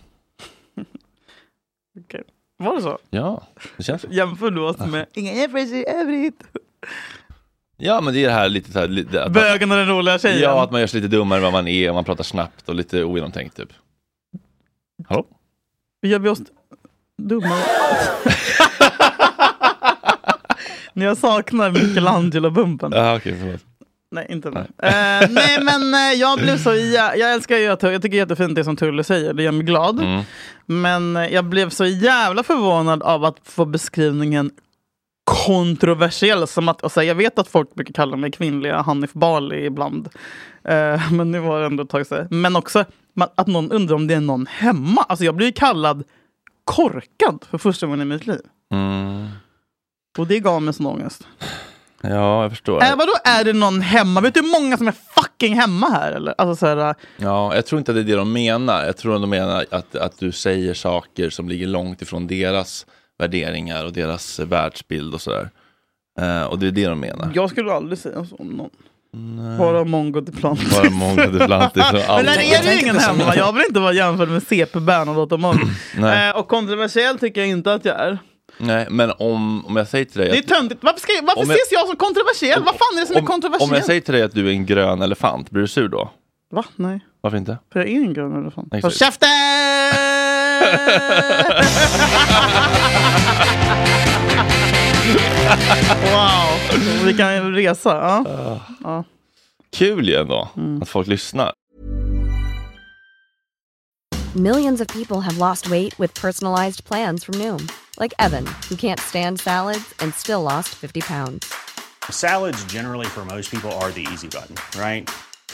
okej. Var det så?
Ja, det känns så.
Jämför du oss med inga jämförelser i övrigt?
Ja, men det är det här lite så här... Lite, att man-
Bögen och den roliga tjejen.
Ja, att man gör sig lite dummare än vad man är och man pratar snabbt och lite ogenomtänkt typ. Hallå?
Gör vi oss dumma? När jag saknar Michelangelo-bumpen.
Ja, okej, förlåt.
Nej, inte nu. Eh, nej men eh, jag blev så, jä- jag älskar ju att, jag tycker det är jättefint det som Tulle säger, det gör mig glad.
Mm.
Men eh, jag blev så jävla förvånad av att få beskrivningen kontroversiell. Som att, alltså, jag vet att folk brukar kalla mig kvinnliga Hanif Bali ibland. Eh, men nu var det ändå ett tag sedan. Men också ma- att någon undrar om det är någon hemma. Alltså jag blir ju kallad korkad för första gången i mitt liv.
Mm.
Och det gav mig sån ångest.
Ja, jag förstår.
Äh, vadå är det någon hemma? Vet du hur många som är fucking hemma här eller? Alltså så här,
Ja, jag tror inte att det är det de menar. Jag tror att de menar att, att du säger saker som ligger långt ifrån deras värderingar och deras eh, världsbild och sådär. Eh, och det är det de menar.
jag skulle aldrig säga så om någon. Bara mongo duplantis.
Bara mongo duplantis och
Men där
allt.
är
Jag
det ju
tänkte
ingen
inte så
hemma.
mycket.
Jag vill inte vara jämförd med CP Bernadotte och mongo.
Nej.
Eh, och kontroversiell tycker jag inte att jag är.
Nej, men om, om jag säger till dig...
Det är töntigt. Varför, ska, varför
Om jag-
ses jag som kontroversiell? Vad fan är det som är
att,
kontroversiellt?
om jag säger till dig att du är en grön elefant, blir du sur då?
Va? Nej.
Varför inte?
För jag är ingen grön elefant.
Exakt.
Håll käften! wow, vi kan resa. Ja. Ja.
Kul ju ändå,
Mm.
att folk lyssnar.
Millions of people have lost weight with personalized plans from Noom, like Evan, who can't stand salads and still lost 50 pounds.
Salads, generally, for most people, are the easy button, right?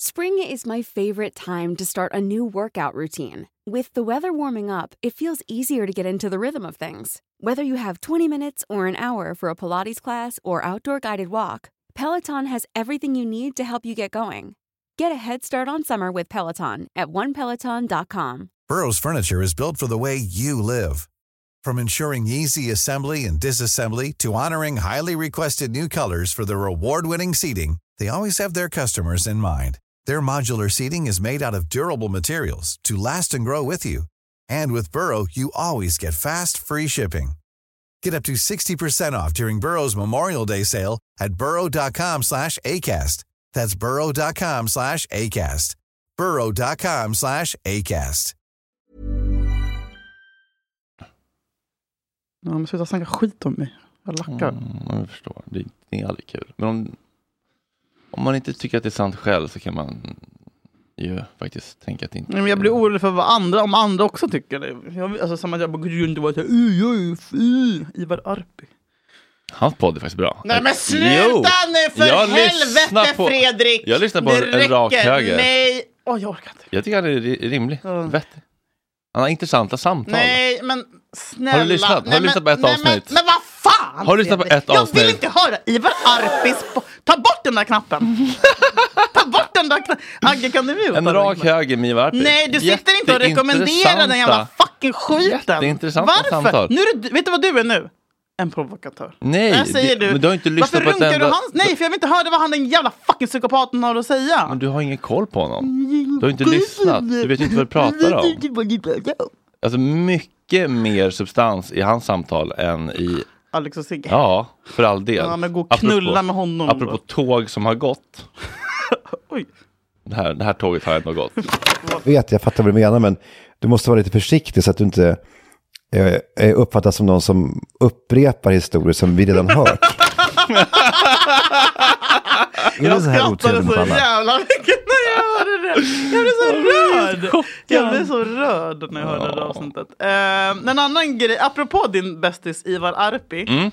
Spring is my favorite time to start a new workout routine. With the weather warming up, it feels easier to get into the rhythm of things. Whether you have 20 minutes or an hour for a Pilates class or outdoor guided walk, Peloton has everything you need to help you get going. Get a head start on summer with Peloton at onepeloton.com.
Burrow's furniture is built for the way you live. From ensuring easy assembly and disassembly to honoring highly requested new colors for their award-winning seating, they always have their customers in mind. Their modular seating is made out of durable materials to last and grow with you. And with Burrow, you always get fast, free shipping. Get up to 60% off during Burrow's Memorial Day sale at burrow.com slash ACAST. That's burrow.com slash ACAST. burrow.com slash ACAST.
Ja, men sluta snacka skit om mig. Jag lackar.
Mm, jag förstår, det är, det är aldrig kul. Men om, om man inte tycker att det är sant själv så kan man ju faktiskt tänka att det inte
Nej, men jag blir orolig för vad andra, om andra också tycker det. Jag, alltså, som att jag bara går runt och bara såhär, "Uh, jag är fy, Ivar Arpi.
Hans podd är faktiskt bra.
Nej, men sluta nu, för helvete,
lyssnar
Fredrik!
Jag lyssnar på en,
Det
en rak
räcker
höger.
mig. Åh, jag orkar inte.
Jag tycker han är ri- rimlig, vettig. Han har intressanta samtal.
Nej, men snälla.
Har du lyssnat? Har du
Nej, men-
lyssnat på ett
nej,
avsnitt?
Men, men vad fan!
Har du lyssnat på
Fredrik?
ett
Jag vill
avsnitt?
inte höra Ivar Arpis... po- Ta bort den där knappen! Ta bort den där knappen! Agge, kan du muta
En
den
rak
knappen?
höger med Ivar Arpi.
Nej, du sitter inte och rekommenderar den jävla
Jätteintressanta.
fucking skiten!
Jätteintressanta
Varför?
samtal.
Nu är du, vet du vad du är nu? En provokatör.
Nej,
Där säger
det-
du,
men du har inte lyssnat
varför
på ett
runkar
enda-
du hans? Nej, för jag vill inte höra vad han den jävla fucking psykopaten har att säga.
Men du har ingen koll på honom. Du har inte lyssnat. Du vet ju inte vad du pratar
typ,
om. Alltså mycket mer substans i hans samtal än i...
Alex och Sigge.
Ja, för all del.
Ja, men gå och knulla med honom då.
Apropå tåg som har gått.
Oj.
Det här, det här tåget har ändå gått.
vet, jag fattar vad du menar, men du måste vara lite försiktig så att du inte eh, eh, uppfattas som någon som upprepar historier som vi redan hört. Är det så här oturen med alla?
jävla mycket när jag hörde det. Jag blev så rörd. Jag blev så rörd när jag hörde det avsnittet. Eh, en annan grej, apropå din bästis Ivar Arpi.
Mm.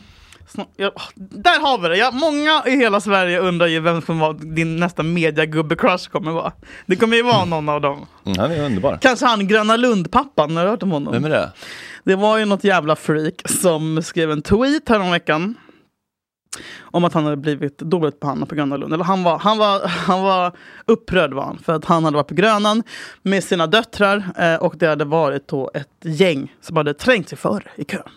Sn- ja, åh, där har vi det. Ja, många i hela Sverige undrar ju vem som var din nästa mediagubbe-crush kommer vara. Det kommer ju vara någon av dem.
Mm, han är underbar.
Kanske han Gröna Lund-pappan, har du hört om honom?
Vem är det?
Det var ju något jävla freak som skrev en tweet häromveckan om att han hade blivit dåligt behandlad på Gröna Lund. Eller han, var, han, var, han var upprörd var han, för att han hade varit på Grönan med sina döttrar eh, och det hade varit då ett gäng som hade trängt sig före i kön.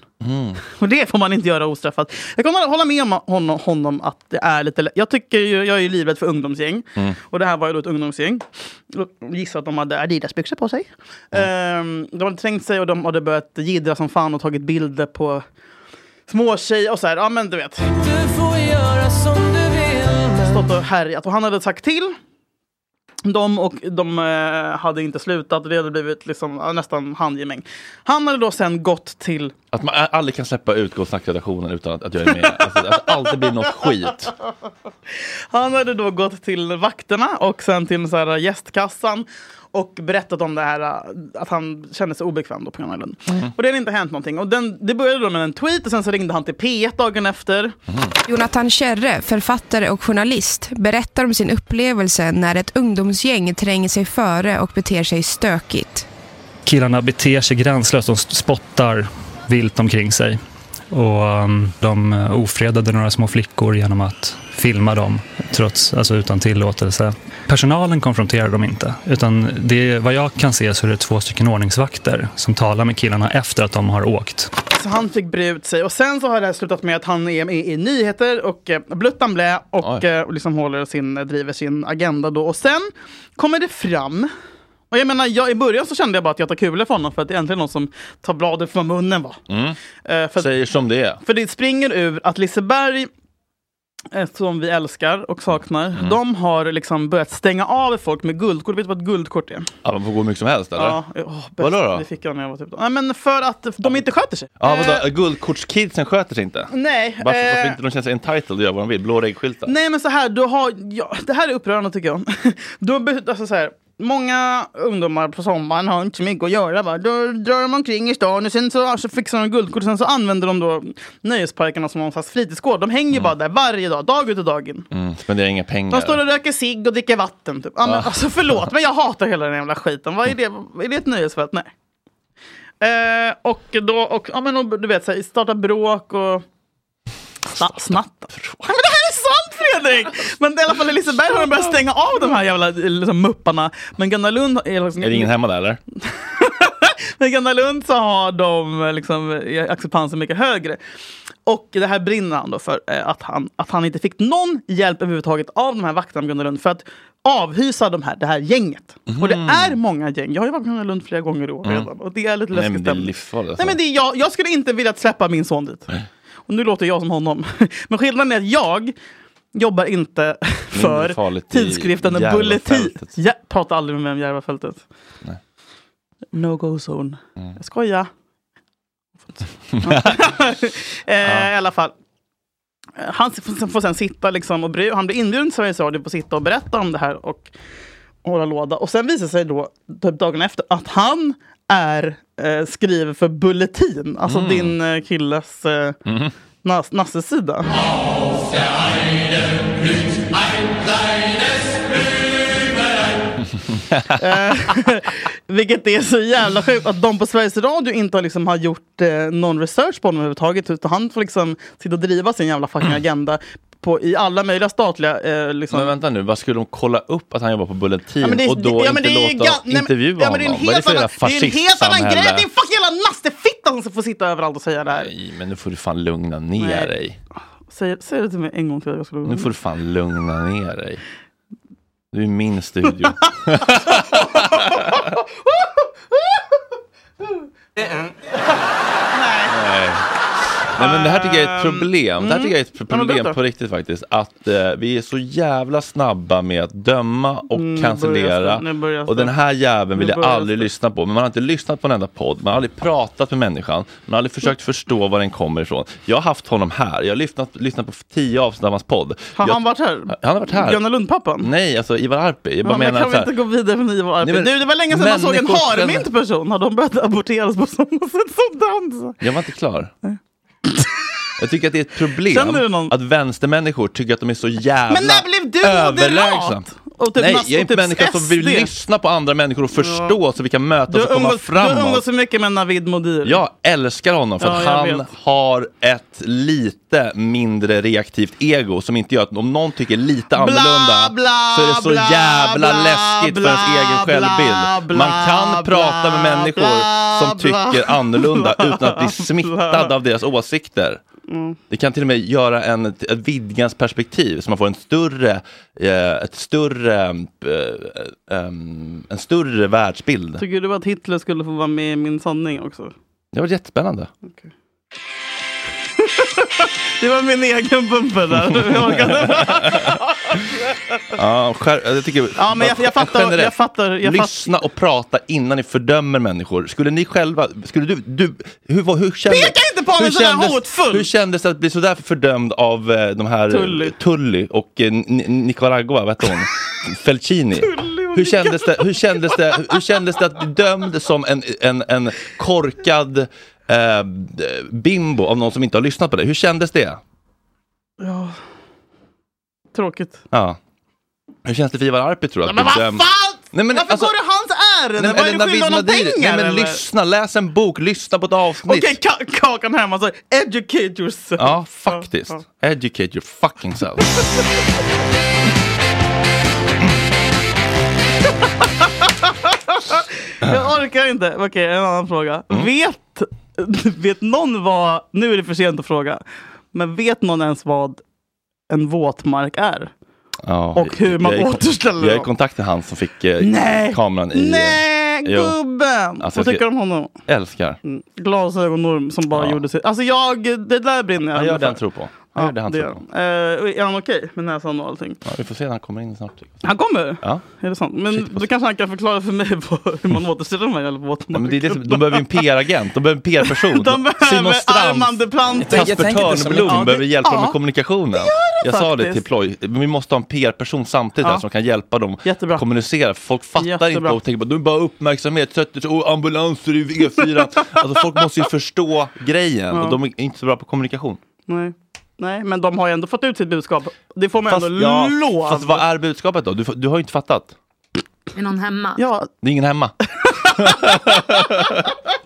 Och det får man inte göra ostraffat. Jag kommer hålla med om honom, honom att det är lite... lä- Jag, tycker ju, jag är ju livrädd för ungdomsgäng.
Mm.
Och det här var ju då ett ungdomsgäng. Och Gissa att de hade Adidas-byxor på sig. Ehm, de hade trängt sig och de hade börjat jiddra som fan och tagit bilder på småtjejer och så här. Ja, men du vet.
Du får göra som du vill
Stått och härjat. Och han hade sagt till. De och de eh, hade inte slutat. Det hade blivit liksom, ja, nästan handgemäng. Han hade då sen gått till
Att man a- aldrig kan släppa utgå och snackredaktionen utan att, att jag är med. Alltså, att det alltid blir något skit.
Han hade då gått till vakterna och sen till så här gästkassan och berättat om det här eh, att han kände sig obekväm då på Gröna Lund. Och det hade inte hänt någonting. Och den, det började då med en tweet och sen så ringde han till P1 dagen efter.
Jonathan Kärre, författare och journalist, berättar om sin upplevelse när ett ungdomsgäng tränger sig före och beter sig stökigt.
Killarna beter sig gränslöst. De spottar vilt omkring sig. Och ehm, de ofredade några små flickor genom att filma dem, trots, alltså utan tillåtelse. Personalen konfronterar dem inte, utan det, är- vad jag kan se så är det två stycken ordningsvakter som talar med killarna efter att de har åkt.
Så han fick bre ut sig. Och sen så har det här slutat med att han är med i nyheter och eh, bluttan blä och eh, och liksom håller sin, eh, driver sin agenda då. Och sen kommer det fram. Och jag menar, jag, i början så kände jag bara att jag tar kulor för honom för att det är äntligen någon som tar bladet från munnen va.
Mm.
Eh, för att-
Säger som det är.
För det springer ur att Liseberg, eh, som vi älskar och saknar,
Mm.
de har liksom börjat stänga av folk med guldkort. Vet du vad ett guldkort är?
Ja, man får gå hur mycket som helst eller?
Ja, eh, åh, bäst.
Vadå då?
Det fick jag när jag var typ... Nej men för att de inte sköter sig.
Ja,
Eh,
vadå? Guldkortskidsen sköter sig inte?
Nej,
Varför, varför
eh, Mm.
inte de känner sig entitled och gör vad de vill? Blå reggskyltar?
Nej men så här, du har, ja, det här är upprörande tycker jag. Då, be- alltså så här, många ungdomar på sommaren har inte så mycket att göra. Va? Då drar de omkring i stan och sen så, så fixar de guldkort och sen så använder de då nöjesparkerna som någon slags fritidsgård. De hänger ju bara där varje dag, dag ut och dag in.
Mm, spenderar inga pengar.
De står och röker cigg och dricker vatten. Typ. Ja, men,
Ja.
alltså, förlåt, men jag hatar hela den jävla skiten. Vad är det? Är det ett nöjesfält? Nej. Eh, och då, och, ja, men, och, du vet, så här, starta bråk och... Sna- snatta. Ja, men det här är sant Fredrik! Men i alla fall i Liseberg har de börjat stänga av de här jävla liksom, mupparna. Men Gröna Lund... Är, liksom,
Är det ingen hemma där eller?
men i Gröna Lund så har de eh, liksom, eh, acceptansen mycket högre. Och det här brinner han då för, eh, att han, att han inte fick någon hjälp överhuvudtaget av de här vakterna på Gröna Lund för att avhysa de här, det här gänget.
Mhm.
Och det är många gäng. Jag har ju varit på Gröna Lund flera gånger i år
Mm.
redan. Och det är lite
Nej
läskigt.
men det är livsfarligt.
Nej,
Alltså.
men det är jag, jag skulle inte vilja släppa min son dit. Och nu låter jag som honom. Men skillnaden är att jag jobbar inte för
alltså. farligt i
tidskriften Bulletin.
Järvafältet.
Jag pratar aldrig med mig om Järvafältet. No-go zone.
Mm.
Jag skojar. eh, I alla fall. Eh, Han får får sen sitta liksom och bry, han blir inbjuden till Sveriges Radio på att sitta och berätta om det här och hålla låda. Och sen visar det sig då, typ dagen efter, att han är eh, skriver för Bulletin, alltså
Mm.
din eh, killes eh,
Mhm.
nas, Nasses sida.
Auf der einen blüht ein kleines Blümelein
Eh, Vilket är så jävla sjukt att de på Sveriges Radio inte har, liksom, har gjort eh, någon research på honom överhuvudtaget. Utan han får liksom sitta och driva sin jävla fucking agenda på, i alla möjliga statliga... Eh, liksom.
Men vänta nu, vad skulle de kolla upp att han jobbar på Bulletin
Ja, men det är-
och då
det- ja, men
inte
det är
låta
ga- nej, men-
intervjua
ja, men det är en
honom? Vad är det
helt
för jävla
annan- det är en helt annan grej! Det är en
fascistsamhälle?
fucking jävla nastefitta som får sitta överallt och säga det här.
Nej, men nu får du fan lugna ner
Nej.
dig.
Säg, säg det till mig en gång till. Jag skulle...
Nu får du fan lugna ner dig. Du är min studio.
Uh-uh.
Nej. Nej, men det här tycker jag är ett problem. Det här tycker jag är ett
Ehm, mm. Ja, men
problem
berätta.
på riktigt faktiskt. Att eh, vi är så jävla snabba med att döma och
Mm, nu börjar
cancellera.
det, nu börjar det.
Och den här jäveln vill
Nu
jag
börjar det.
aldrig lyssna på. Men man har inte lyssnat på en enda podd. Man har aldrig pratat med människan. Man har aldrig försökt förstå var den kommer ifrån. Jag har haft honom här. Jag har lyssnat, lyssnat på tio avsnitt av hans podd.
Har
jag,
han varit här?
Han har varit här. Mm,
Gröna Lundpappan?
Nej, alltså Ivar Arpi. Jag bara
Ja, men
menar
kan
så
vi
här-
inte gå vidare från Ivar Arpi?
Nej, men
Du, det var länge sedan man såg en
människors-
harmynt person. Har de börjat aborteras på samma sätt som dans?
Jag var inte klar. Jag tycker att det är ett problem
Känner du någon-
att vänstermänniskor tycker att de är så jävla
Men när blev du
överlägsna.
moderat? Och typ
Nej,
nas-
jag är
och typ
inte människa som vill
SD.
lyssna på andra människor och förstå så vi kan
Du
mötas och
har
komma
umgås, du
framåt.
har umgås så mycket med Navid Modiri.
Jag älskar honom för
Ja,
att
jag
han
vet.
har ett lite mindre reaktivt ego som inte gör att om någon tycker lite annorlunda så är det så jävla läskigt för ens egen självbild. Man kan prata med människor som
bla,
tycker annorlunda utan att bli smittad av deras åsikter.
Mm.
Det kan till och med göra en, ett vidgans perspektiv så man får en större, eh, ett större, eh, em, en större världsbild.
Tycker du att Hitler skulle få vara med i Min sanning också?
Det var jättespännande.
Det var min egen bumper där. Jag orkade.
Ja, skär, jag tycker,
Ja, men jag- jag fattar- jag
generellt,
fattar- jag fatt-
lyssna och prata innan ni fördömer människor. Skulle ni själva, skulle du, du hur, var- hur kände,
Peka inte på
hur
mig sådär
kändes-
hotfull!
Hur kändes det att bli sådär fördömd av eh, de här
Tully.
Tully och eh, Ni- Nicaragua, vad hette hon? Felcini. Hur kändes, det, hur, kändes det, hur kändes det att bli dömd som en, en, en korkad eh, bimbo av någon som inte har lyssnat på dig? Hur kändes det?
Ja. Tråkigt.
Ja. Hur känns det för Ivar Arpi tror du? att
Men
bli
vad
dömd?
fan!
Nej, men
Varför
alltså-
går du hans ärende?
Nej,
Vad är
eller
du skyldig
Navid
honom
Modiri.
pengar?
Nej, men
eller?
lyssna, läs en bok, lyssna på ett avsnitt.
Okej, Ka- Kakan alltså, Herman sa educate yourself.
Ja, faktiskt.
Ja,
Educate your fucking self.
ja. Jag orkar inte. Okej, en annan fråga.
Mm.
Vet, vet någon vad, nu är det för sent att fråga, men vet någon ens vad en våtmark är?
Ja,
Och hur man
jag är i kon-
återställer
Jag är i
dem.
kontakt med han som fick eh,
Nej!
kameran i...
Nej,
Jo.
gubben!
Alltså,
vad
jag
tycker
ska-
du om honom?
Älskar.
Mm. Glasögonorm som bara gjorde sig... Alltså jag, det där brinner jag
Han
ändå
gör det
för.
han tror på. Han gör det han
det
tror
gör
på.
han. Eh, är han okej med näsan och allting?
Ja, vi får se när han kommer in snart.
Han kommer?
Ja.
Är det sant? Men då kanske han kan förklara för mig på hur man återställer de här jävla
Nej,
våtmarkerna.
men det är det som, de behöver ju en PR-agent, de behöver en PR-person.
De behöver
Simon Strand,
Armand de Plante.
Kasper Törnblom behöver hjälpa dem med kommunikationen.
det
Jag sa det till
faktiskt.
Ploy, men vi måste ha en PR-person samtidigt
Ja.
här som kan hjälpa dem kommunicera. Folk fattar inte
Jättebra.
och tänker bara, de är bara uppmärksamhet, sätter och ambulanser i E4. alltså folk måste ju förstå grejen
Ja.
och de är inte så bra på kommunikation.
Nej. Nej, men de har ju ändå fått ut sitt budskap. Det får man ändå
ja,
lov.
fast vad är budskapet då? Du, du har ju inte fattat.
Är någon hemma?
Ja.
Det är ingen hemma.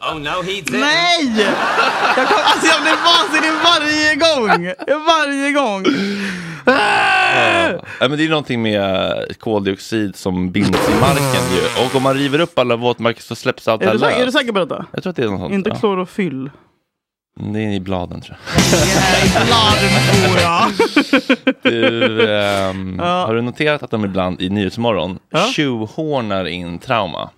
Oh no, he didn't.
Nej! Jag, kom, alltså jag blir vansinnig varje gång. Varje gång.
Ja, men det är någonting med eh, koldioxid som binds i marken ju. Och om man river upp alla våtmarker så släpps allt
Är du,
här
säker, är du
löst.
säker på detta?
Jag tror att det är något sånt.
Inte
ja.
klorofyll.
Det är i bladen tror jag.
Larm tror jag.
Du, ehm,
Ja.
Har du noterat att de ibland i Nyhetsmorgon tjuvhornar in trauma?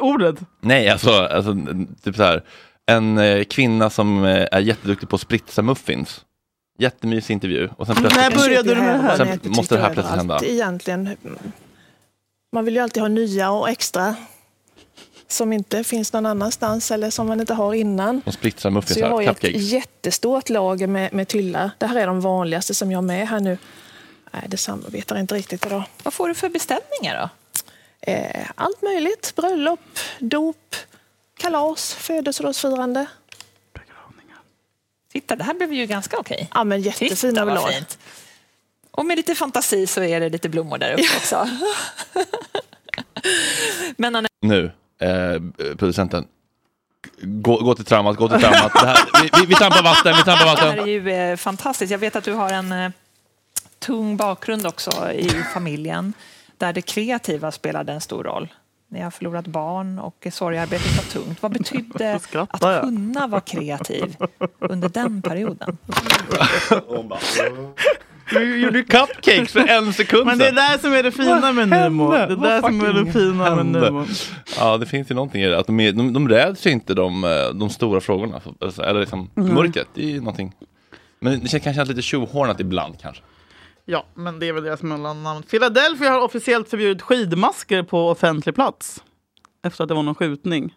Ordet.
Nej, alltså, alltså n- typ så här. En eh, kvinna som eh, är jätteduktig på att spritsa muffins. Jättemysig intervju. Och sen plötsligt,
När började du med det här?
Sen måste det här plötsligt hända.
Allt egentligen. Man vill ju alltid ha nya och extra som inte finns någon annanstans eller som man inte har innan.
De splittar
Så jag
muffinsar,
har ju ett
cupcakes.
jättestort lager med, med tyllar. Det här är de vanligaste som jag har med här nu. Nej, det samarbetar inte riktigt idag. Vad får du för beställningar då? Eh, allt möjligt. Bröllop, dop, kalas, födelsedagsfirande.
Titta, det här blev ju ganska okej.
Ja, men
Titta,
jättefina
vad
överlag.
fint. Och med lite fantasi så är det lite blommor där uppe också. Men Anette,
Nu, eh, producenten. Gå, gå till traumat, gå till traumat. Det här, vi, vi, vi trampar vatten, vi trampar
det här
vatten.
är ju eh, fantastiskt. Jag vet att du har en eh, tung bakgrund också i familjen där det kreativa spelade en stor roll. Ni har förlorat barn och sorgarbetet var tungt. Vad betydde att
jag.
kunna vara kreativ under den perioden?
Du gjorde cupcakes för en sekund
Men det är där som är det fina
Vad
med Numo. Det är
hände? Vad
där som är det
fucking
fina med
hände?
Numo.
Ja, det finns ju någonting i det. Att de, är, de, de räds ju inte de, eh, de stora frågorna. Alltså, Eller liksom
Mm.
mörkret. Det är ju någonting. Men det känns kanske lite tjohornat ibland kanske.
Ja, men det är väl deras mellannamn. Philadelphia har officiellt förbjudit skidmasker på offentlig plats. Efter att det var någon skjutning.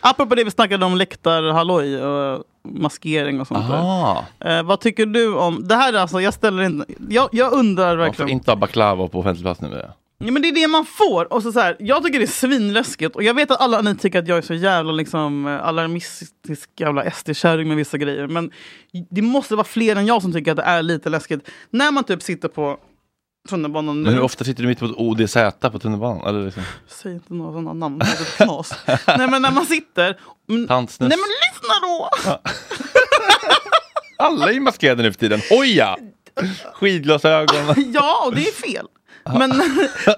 Apropå det vi snackade om läktarhalloj och maskering och sånt
Ah.
där. Eh, vad tycker du om... Det här är alltså, jag ställer inte... Jag, jag undrar
Man får
verkligen.
inte ha baklava på offentlig plats numera.
Ja, men det är det man får. Och så, så här, jag tycker det är svinläskigt. Och jag vet att alla ni tycker att jag är så jävla liksom, eh, alarmistisk jävla SD-kärring med vissa grejer. Men det måste vara fler än jag som tycker att det är lite läskigt. När man typ sitter på tunnelbanan nu.
Men hur ofta sitter du mitt mot ODZ på tunnelbanan? Eller liksom,
Säg inte några sådana namn, det är knas. Nej men när man sitter... Mm,
tantsnus?
Nej men lyssna då!
Alla är ju maskerade nu för tiden. Oj ja! Skidglasögon.
Ja, och det är fel. Men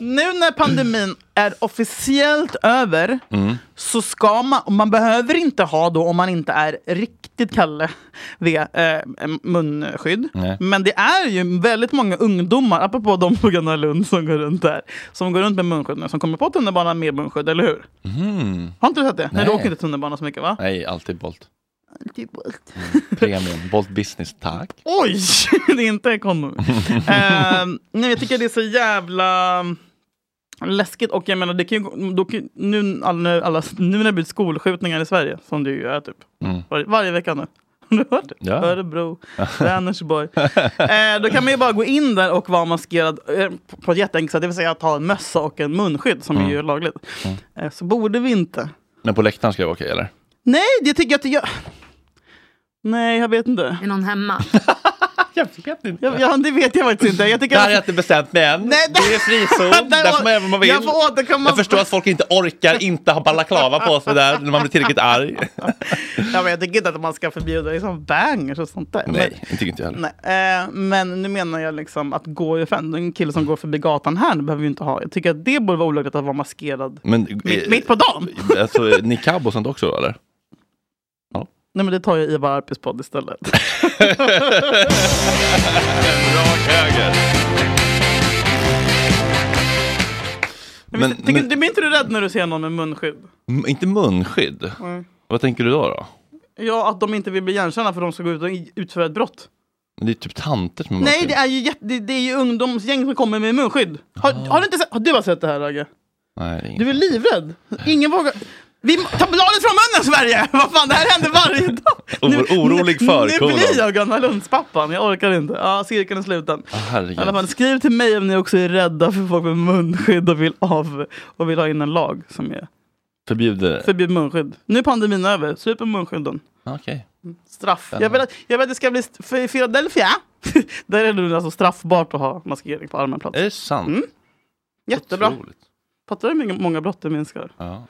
nu när pandemin är officiellt över
Mm.
så ska man, och man behöver inte ha då om man inte är riktigt Kalle det, eh, munskydd.
Nej.
Men det är ju väldigt många ungdomar, apropå de på Gröna Lund som går runt där, som går runt med munskydd nu, som kommer på tunnelbanan med munskydd, eller hur?
Mm.
Har inte du sett det? Nej, du
Nej.
åker inte tunnelbana så mycket va?
Nej, alltid Bolt.
Typ.
Premium. Bolt Business, tack.
Oj! Det är inte ekonomi. eh, nej, jag tycker det är så jävla läskigt. Och jag menar, det kan ju, då, kan- nu, alla, alla, nu när det blivit skolskjutningar i Sverige, som det ju är typ
Mm.
var, varje vecka nu. Har du hört det?
Ja.
Örebro, Vänersborg. Eh, då kan man ju bara gå in där och vara maskerad eh, på- på ett jätteenkelt sätt. Det vill säga att ha en mössa och en munskydd som
Mm.
är ju lagligt.
Mm.
Eh, så borde vi inte.
Men på läktaren ska det vara okej eller?
Nej, det tycker jag att jag... Nej, jag vet inte.
Är någon hemma?
jag vet inte.
Jag, jag, det vet jag faktiskt inte. Jag tycker
Det här
att-
har jag inte bestämt mig än.
Nej,
det är frizon, där får man göra vad man vill.
Jag får återkomma.
Jag förstår att folk inte orkar inte ha balaklava på sig där när man blir tillräckligt arg.
Ja, men jag tycker inte att man ska förbjuda liksom bangers och sånt där.
Nej, det tycker inte jag
Men,
heller.
nej, eh, men nu menar jag liksom att gå i offentlig. En kille som går förbi gatan här nu behöver vi inte ha. Jag tycker att det borde vara olagligt att vara maskerad.
Men,
Mitt, mitt på dagen!
eh, Alltså, niqab och sånt också eller?
Nej men det tar jag i bara Arpis podd istället.
Rak höger. Men,
Tycker,
men
du, blir inte du rädd när du ser någon med munskydd?
m- inte munskydd?
Mm.
Vad tänker du då? då?
Ja, att de inte vill bli igenkända för de ska gå ut och i- utföra ett brott.
Men Det är typ tanter som har
Nej,
munskydd.
det är ju, jätte- det, det är ju ungdomsgäng som kommer med munskydd. Har, har du inte sett? Har du bara sett det här Ragge?
Nej, det är inget.
Du är livrädd. Ingen vågar. Vi tar bladet från munnen Sverige! Vad fan, det här händer varje dag.
O- orolig för
Nu
kolan.
blir jag Gröna Lundspappan, jag orkar inte. Ja, cirkeln är sluten.
Ah,
I alla
herregud.
fall, skriv till mig om ni också är rädda för folk med munskydd och vill, av, och vill ha in en lag som är
Förbjuder.
förbjud munskydd. Nu är pandemin över, slut med munskydden.
Okej.
Straff. Jag vill, att, jag vill att det ska bli... st- För i Philadelphia, där är det nu alltså straffbart att ha maskering på allmän plats.
Är det sant?
Mm. Jättebra.
Otroligt.
Fattar du hur många- många brott det minskar?
Ja.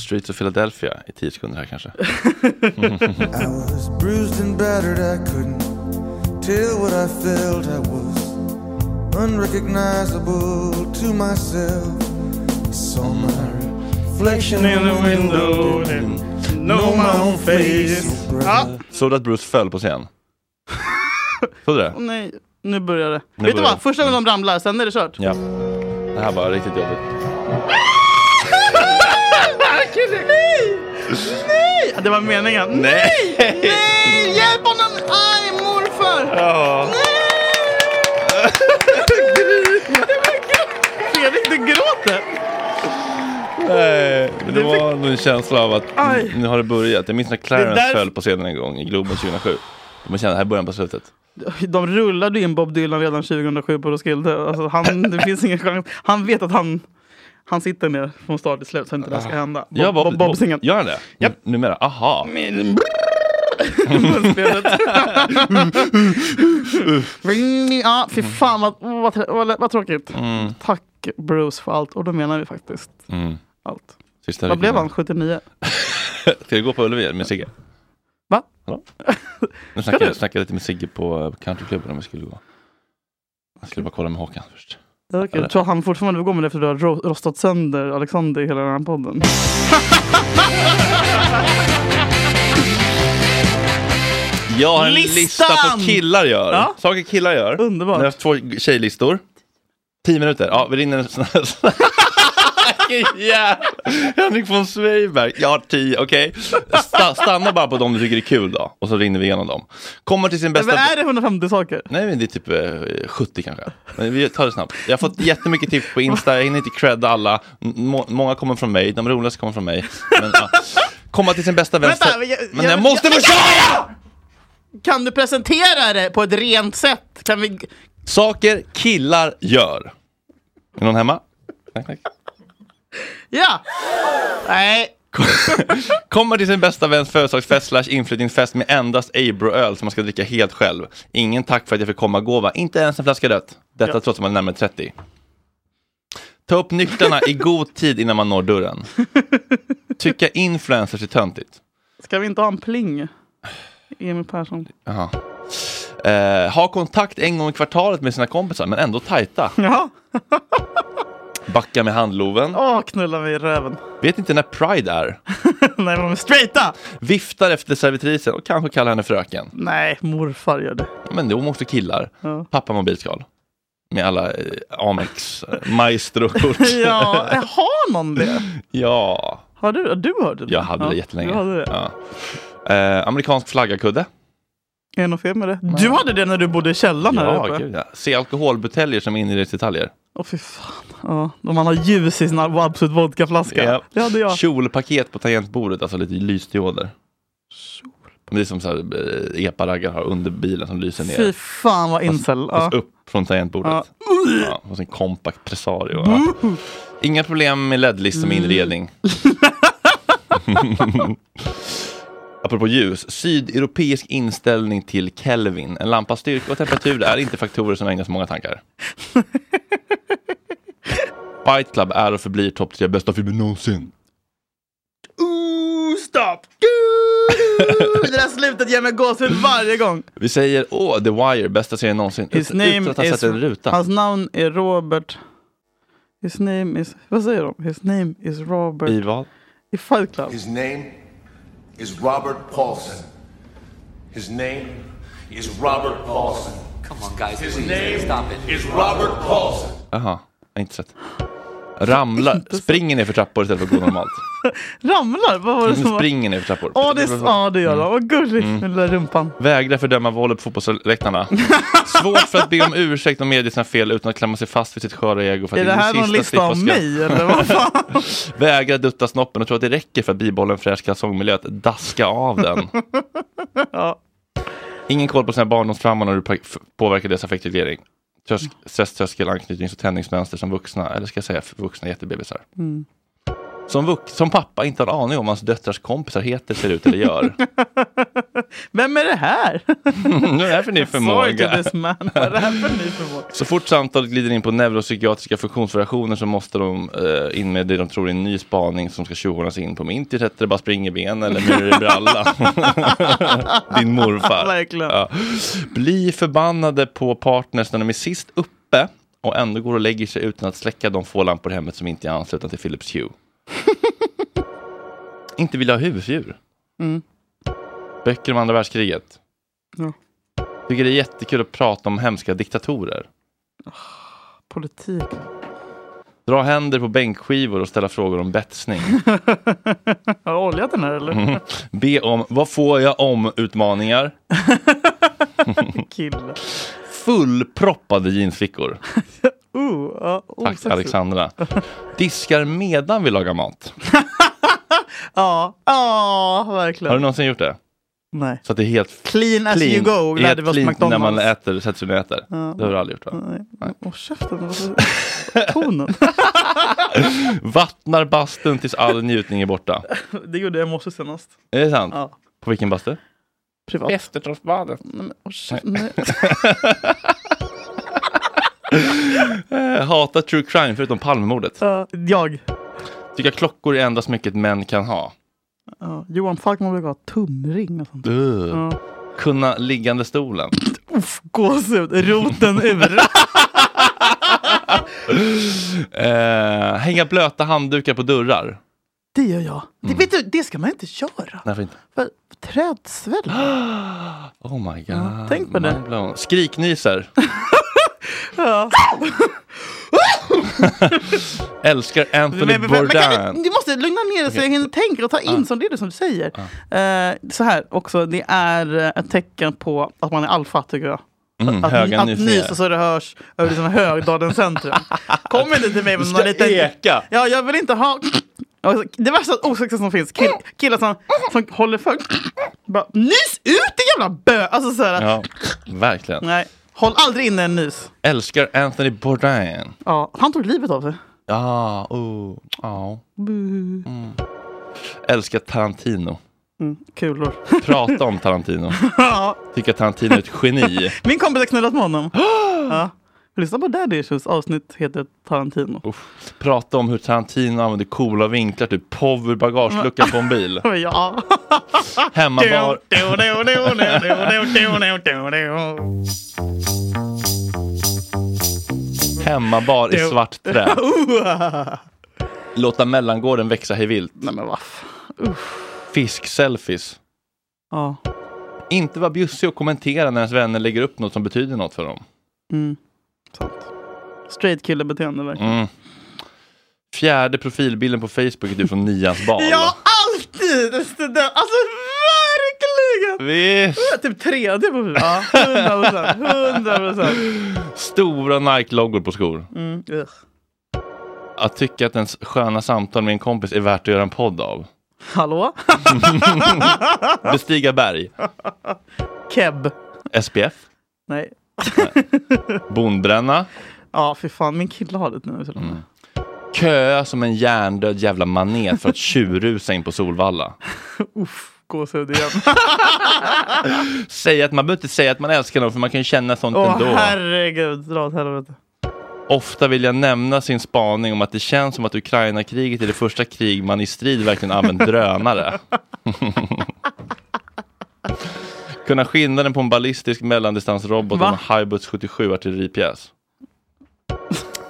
Streets of Philadelphia i tio sekunder här kanske.
I was bruised and battered, I couldn't tell what I felt. I was unrecognizable to myself. I saw my reflection in the window, didn't know my own face. Ah!
Ja.
Såg du att Bruce föll på scen? Såg du det?
Åh nej, nu börjar det.
Nu
Vet du
börjar
vad?
det.
Första gången de ramlar, sen är det kört.
Ja. Det här var riktigt jobbigt.
nej! Nej! Ja, Det var meningen.
Nej!
Nej! Hjälp honom! Aj, morfar!
Ja.
Fredrik, du gråter!
Nej, men det var nog en känsla av att
Aj.
nu har det börjat. Jag minns när
Det
Clarence
är därför-
föll på scenen en gång i Globen 2007. Och Man kände här är början på slutet.
De rullade in Bob Dylan redan 2007 på Roskilde. Alltså, han, det finns ingen chans. Han vet att han, han sitter ner från start till slut så inte det här ska hända. Bob,
Ja, Bob-
Bob, Bob singen.
Gör han det? Yep. Numera? Aha.
Ja, fy fan vad, åh, vad, trä- vad, vad tråkigt.
Mm.
Tack Bruce för allt. Och då menar vi faktiskt
Mm.
allt.
Sista
vad
veckan.
blev han? 79?
Ska vi gå på Ullevi med Sigge?
Va?
Hallå? Jag snackade,
du?
snackade lite med Sigge på eh, countryklubben om vi skulle gå. Jag skulle bara kolla med Håkan först.
Ja, okej. Jag tror han fortfarande vill gå med det för du har ro- rostat sönder Alexander i hela den här podden.
Jag har en lista
Listan!
på killar gör.
Ja.
Saker killar gör. Underbart. Jag har haft två tjejlistor. Tio minuter. Ja, vi rinner en sån här. yeah. Henrik von Zweigbergk. Jag har tio, okej. Sta- stanna bara på dem du tycker är kul då. Och så rinner vi igenom dem. Kommer till sin bästa...
Vad är det 150 saker?
Nej, men det är typ eh, 70 kanske. Men vi tar det snabbt. Jag har fått jättemycket tips på Insta, jag hinner inte credda alla. M- må- många kommer från mig, de roligaste kommer från mig. Men, ja. Komma till sin bästa vän...
Vänta, jag-
men jag, måste få köra!
Kan du presentera det på ett rent sätt? Kan vi...
Saker killar gör. Är någon hemma? Tack, tack.
Ja! Nej.
Kommer till sin bästa väns födelsedagsfest slash inflyttningsfest med endast Abro-öl som man ska dricka helt själv. Ingen tack för att jag fick komma och gåva, inte ens en flaska rött. Detta
Ja.
trots att man är närmare 30. Ta upp nycklarna i god tid innan man når dörren. Tycka influencers är töntigt.
Ska vi inte ha en pling? Emil Persson.
Jaha. Eh, ha kontakt en gång i kvartalet med sina kompisar, men ändå tajta.
Ja.
Backa med handloven.
Åh, knulla mig i röven.
Vet inte när Pride är.
Nej, de är straighta!
Viftar efter servitrisen och kanske kallar henne fröken.
Nej, morfar gör det.
Men då måste killar.
Ja.
Pappa mobilskal. Med alla eh, Amex, eh, Maestro-kort.
ja, jag har någon det?
ja,
Har du, du hörde det?
jag hade
ja,
det jättelänge.
Du hade det.
Ja. Eh, amerikansk flagga-kudde.
Är det något fel med det? Du hade det när du bodde i källaren här
Ja,
uppe?
gud, ja. Se alkoholbuteljer som inredningsdetaljer.
Åh fy fan. Ja, de man har ljus i sin absolut vodkaflaska.
Ja.
Det hade jag.
Kjolpaket på tangentbordet, alltså lite lysdioder. Det är som så här, eh, epa-raggar har under bilen som lyser ner.
Fy fan vad incel.
Fast, fast
Ja.
upp från tangentbordet.
Ja.
Ja, och sen kompakt presario. Ja. Inga problem med LED-listor med inredning. Apropå ljus, sydeuropeisk inställning till Kelvin. En lampas styrka och temperatur är inte faktorer som ägnas många tankar. Fight Club är och förblir topp tre bästa filmer någonsin.
Ooh, stop! Du- Det där slutet ger mig gåshud varje gång.
Vi säger åh, The Wire, bästa serien någonsin.
His
Utan- utan
name
att ha
is,
sett en ruta.
Hans namn är Robert. His name is... Vad säger de? His name is Robert.
I vad?
I Fight Club.
His name is Robert Paulson. His name is Robert Paulson. Come on, guys. His name stop it. is Robert Paulson.
Jaha, jag har inte sett. Ramlar, springer ner för trappor istället för att gå normalt.
Ramlar? Vad var det
De
som var...
springer ner för trappor.
Ja, det, ja, det gör de. Vad gulligt
Mm.
med den där rumpan.
Vägrar fördöma våld på fotbollsläktarna. Svårt för att be om ursäkt och medge sina fel utan att klämma sig fast vid sitt sköra ego. För att
Är
i
det
sin
här någon
sista
lista om
slippa skratt.
mig, eller vad fan?
Vägrar dutta snoppen och tror att det räcker för att bibehålla en fräsch kalsongmiljö att daska av den. Ingen koll på sina barndomstrauman och hur det pa- påverkar deras affektreglering.
Mm.
Trösk, stresströskel, anknytnings och tändningsmönster som vuxna, eller ska jag säga för vuxna jättebebisar.
Mm.
Som, vux- som pappa inte har en aning om vad hans döttrars kompisar heter, ser ut eller gör.
Vem är det här?
Vad är det här för ny
Sorry to
förmåga?
this man. Vad är det här för ny förmåga?
Så fort samtalet glider in på neuropsykiatriska funktionsvariationer så måste de eh, in med det de tror är en ny spaning som ska tjohornas in på. Men inte heter det bara springerben eller mur i bralla. Din morfar.
Verkligen.
Ja. Bli förbannade på partners när de är sist uppe och ändå går och lägger sig utan att släcka de få lampor i hemmet som inte är anslutna till Philips Hue. inte vilja ha husdjur.
Mm.
Böcker om andra världskriget.
Ja.
Tycker det är jättekul att prata om hemska diktatorer.
Ah, Politik.
Dra händer på bänkskivor och ställa frågor om betsning.
Har du oljat den här eller?
Mm. Be om vad får jag om-utmaningar.
Kille.
Fullproppade jeansfickor.
Uh, ja,
Tack
osexigt.
Alexandra. Diskar medan vi lagar mat.
Ja, ja verkligen.
Har du någonsin gjort det?
Nej.
Så att det är helt
Clean as you go,
Det är
lärde vi
helt
oss
clean
McDonald's.
när man äter, sätter sig ner och äter.
Ja.
Det har du aldrig gjort va?
Nej. Åh, käften. varför- Tonen.
Vattnar bastun tills all njutning är borta.
Det gjorde jag i morse senast.
Är det sant?
Ja.
På vilken bastu?
Privat.
Västertorpsbadet.
Nej, men, åh, käften. Nej.
Eh, Hatar true crime förutom Palmemordet.
Ja, jag.
Tycker klockor är enda smycket män kan ha.
Ja, Johan Falkman brukar ha tumring och sånt.
Ugh.
Ja.
Kunna liggande stolen.
Uff, gåshud. Roten ur.
Eh, hänga blöta handdukar på dörrar.
Det gör jag. Det, vet du, det ska man inte göra.
Nej, för inte.
För trädsväll.
Oh my god.
tänk på det.
Mind blown. Skriknisar.
ja.
Älskar Anthony
Men- men- men- men kan
Bourdain.
vi- Du måste lugna ner dig så
Okej.
jag hinner tänka och ta in
Ja.
som det är det som du säger. Eh, så här också, det är eh, ett tecken på att man är alfa tycker jag.
Mm,
att
höga
att
nyfier.
nysa så det hörs över liksom Högdalens centrum. Kom inte till mig med
Du
någon
ska
liten...
eka.
Ja, jag vill inte ha... Alltså, Det värsta osäkert som finns, kill, killar som, som håller för... Bara, nys ut din jävla bö! Alltså så här,
Ja, verkligen.
nej. Håll aldrig inne en nys.
Älskar Anthony Bourdain.
Ja, han tog livet av sig.
Ja, oh, ja. Mm.
Bu.
Älskar Tarantino.
Mm, kulor.
Prata om Tarantino.
Ja.
Tycker att Tarantino är ett geni.
Min kompis har knullat med honom. ja. Lyssna på Daddy Issues avsnitt heter Tarantino.
Prata om hur Tarantino använder coola vinklar, typ pov ur bagageluckan på en bil.
ja.
Hemmabar. Hemmabar i svart trä. Låta mellangården växa hej vilt.
Uh. Nej men vaff.
Fisk-selfies.
Ja.
Inte vara bjussig och kommentera när ens vänner lägger upp något som betyder något för dem.
Mm. Sant. Straight kille beteende verkligen.
Mm. Fjärde profilbilden på Facebook är typ från nians bal.
Ja, alltid! Student. Alltså verkligen!
Visst.
Ja, Typ tredje på fyra. Hundra procent. Hundra procent.
Stora Nike-loggor på skor.
Mm, ugh.
Att tycka att ens sköna samtal med en kompis är värt att göra en podd av.
Hallå?
Bestiga berg.
Keb.
SPF.
Nej.
Bondbränna.
Ja, fy fan. Min kille har det nu. till och med.
Köa som en hjärndöd jävla manet för att tjurrusa in på Solvalla.
Uff, gåshud igen.
Säga att man behöver inte säga att man älskar någon för man kan ju känna sånt
Åh
ändå.
herregud, dra åt helvete.
Ofta vill jag nämna sin spaning om att det känns som att Ukraina-kriget är det första krig man i strid verkligen använt drönare. Kunna skillnaden på en ballistisk mellandistansrobot
Va?
och en Haubits 77 artilleripjäs.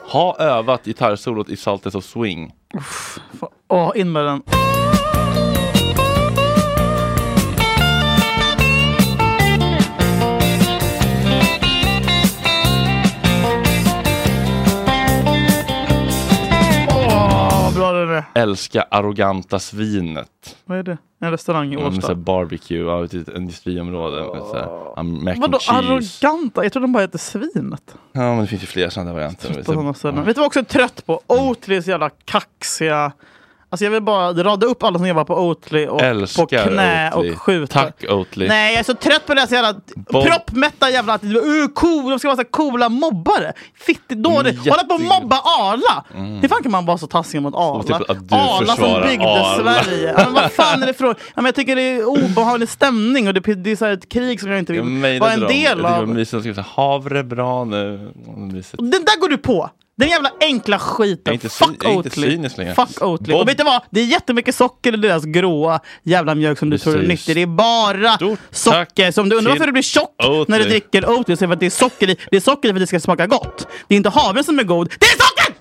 Ha övat gitarrsolot i Salters of Swing.
Fan, Åh, in med den. Åh, bra den är.
Älska arroganta svinet.
Vad är det? En restaurang i
Ja, men så här
Årsta.
barbecue, ja, ett litet industriområde. med så här, ja, Mac and
Vadå
cheese.
arroganta? Jag tror de bara heter Svinet.
Ja, men det finns ju flera sådana varianter.
På sådana ställen. Vet du vad jag också är trött på? Oatlys jävla kaxiga... Alltså jag vill bara rada upp alla som jobbar på Oatly och
Älskar
på knä
Oatly.
och skjuta.
Tack Oatly.
Nej, jag är så trött på deras jävla
Bob-
proppmätta jävla attityd. Uh, cool, de ska vara så här coola mobbare. Fittigt dåligt.
Mm,
Hålla på och
jätte-
mobba Arla!
Mm.
Hur fan kan man vara så taskig mot Arla?
Och typ att du
Arla som
försvarar
byggde
Arla.
Sverige. Ja, men vad fan är det frågan? Ja, men jag tycker det är obehaglig stämning och det, det är så här ett krig som jag inte
Jag
vill vara
mejlade
en
dem. Jag
del
tycker det var
av.
mysigt. De skrev så här, havre bra nu. Och mysigt.
Och Den där går du på! Den jävla enkla
Jag är
skiten.
inte, syn,
Fuck
jag är inte
Oatly.
cynisk längre.
Fuck Oatly.
Bob-
Och vet du vad? Det är jättemycket socker i deras gråa jävla mjölk som du tror är
Precis.
nyttigt. Det är bara socker. Så om du undrar
till
varför du blir tjock
Oatly.
när du dricker Oatly så är det för att det är socker i. Det är socker i för att det ska smaka gott. Det är inte havre som är god. Det är socker!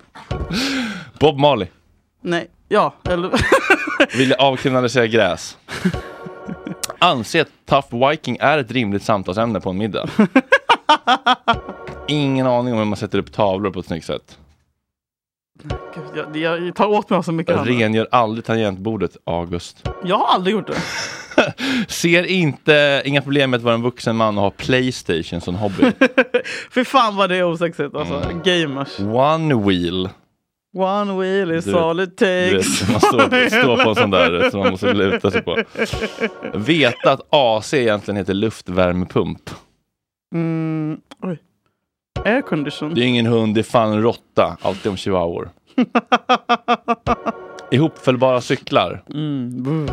Bob Marley.
Nej, ja. Eller...
Vill avkriminalisera gräs. Anse att Tough Viking är ett rimligt samtalsämne på en middag. Ingen aning om hur man sätter upp tavlor på ett snyggt sätt.
jag, jag, jag tar åt mig av så mycket. annat.
Rengör aldrig tangentbordet, August.
Jag har aldrig gjort det.
Ser inte, inga problem med att vara en vuxen man och ha Playstation som hobby.
Fy fan vad det är osexigt alltså.
Mm.
Gamers.
One wheel.
One wheel is
Du vet-
all it
du
takes.
vet, man står, står på en sån där som man måste luta sig på. Veta att AC egentligen heter luftvärmepump.
Mm, oj. Aircondition.
Det är ingen hund, det är fan en råtta. Alltid om chihuahuor. Ihopfällbara cyklar.
Mm. buh.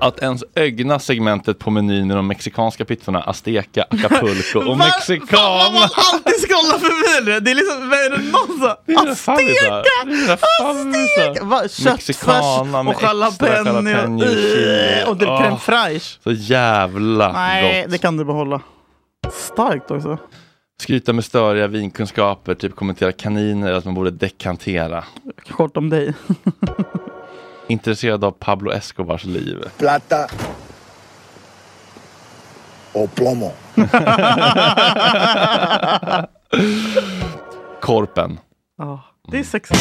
Att ens ögna segmentet på menyn i de mexikanska pizzorna Azteca, Acapulco och
Va-
Mexikan.
Man alltid scrollar förbi det. Det är liksom, vad är det någon så?
Favoriter.
Azteca! Va, Köttfärs
Mexicana med
och
extra
jalapeno.
jalapeno och chili.
Och typ
Åh.
crème fraîche.
Ah, Så jävla
Nej,
gott.
det kan du behålla. Starkt också.
Skryta med störiga vinkunskaper, typ kommentera kaniner, att man borde dekantera.
Kort om dig.
Intresserad av Pablo Escobars liv.
Plata o plomo.
Korpen.
Ja, det är sexigt.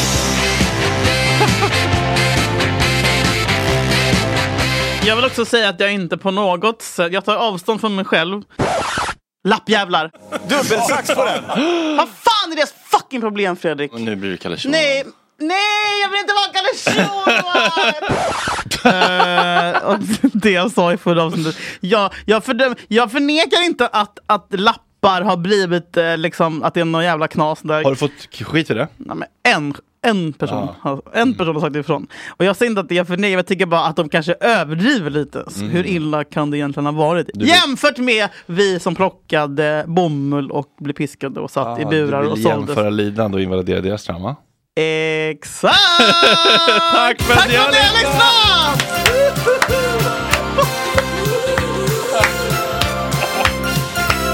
Jag vill också säga att jag inte på något sätt, jag tar avstånd från mig själv. Lappjävlar!
Dubbelsax på den.
Vad fan är deras fucking problem Fredrik?
Nu blir det Kalle Schulman.
Nej, nej jag vill inte vara Kalle Schulman! Eh, och det jag sa i förra avsnittet. Jag, jag, fördöm, jag förnekar inte att, att lappar har blivit eh, liksom att det är någon jävla knas där.
Har du fått k- skit i det?
Nej, men en, en, person, har- en
Mm.
person har sagt ifrån. Och jag säger inte att det är för nej, jag tycker bara att de kanske överdriver lite. Så
Mm.
Hur illa kan det egentligen ha varit?
Du-
Jämfört med vi som plockade bomull och blev piskade och satt i burar
du
och
vill
såldes.
jämföra lidande och invalidera deras trauma.
Exakt! Tack
för
att ni har lyssnat!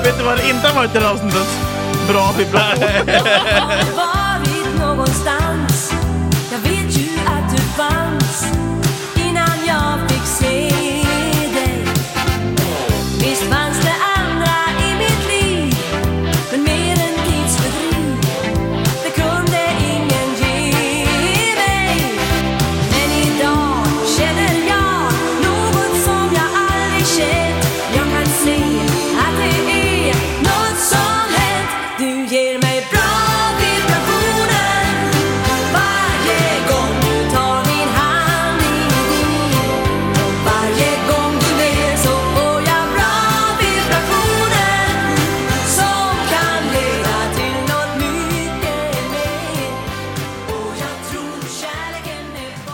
Vet du vad det inte har varit i det här avsnittet? Bra vibrationer.
Har du varit någonstans? Jag vet ju att du fanns innan jag fick se dig. Visst fanns det andra i mitt liv, men mer än tidsfördriv. Det kunde ingen ge mig. Men idag känner jag något som jag aldrig känt. Jag kan se att det är något som hänt. Du ger mig bra vibrationer varje gång du tar min hand i din. Och varje gång du ler så får jag bra vibrationer som kan leda till något mycket mer. Och jag tror kärleken är på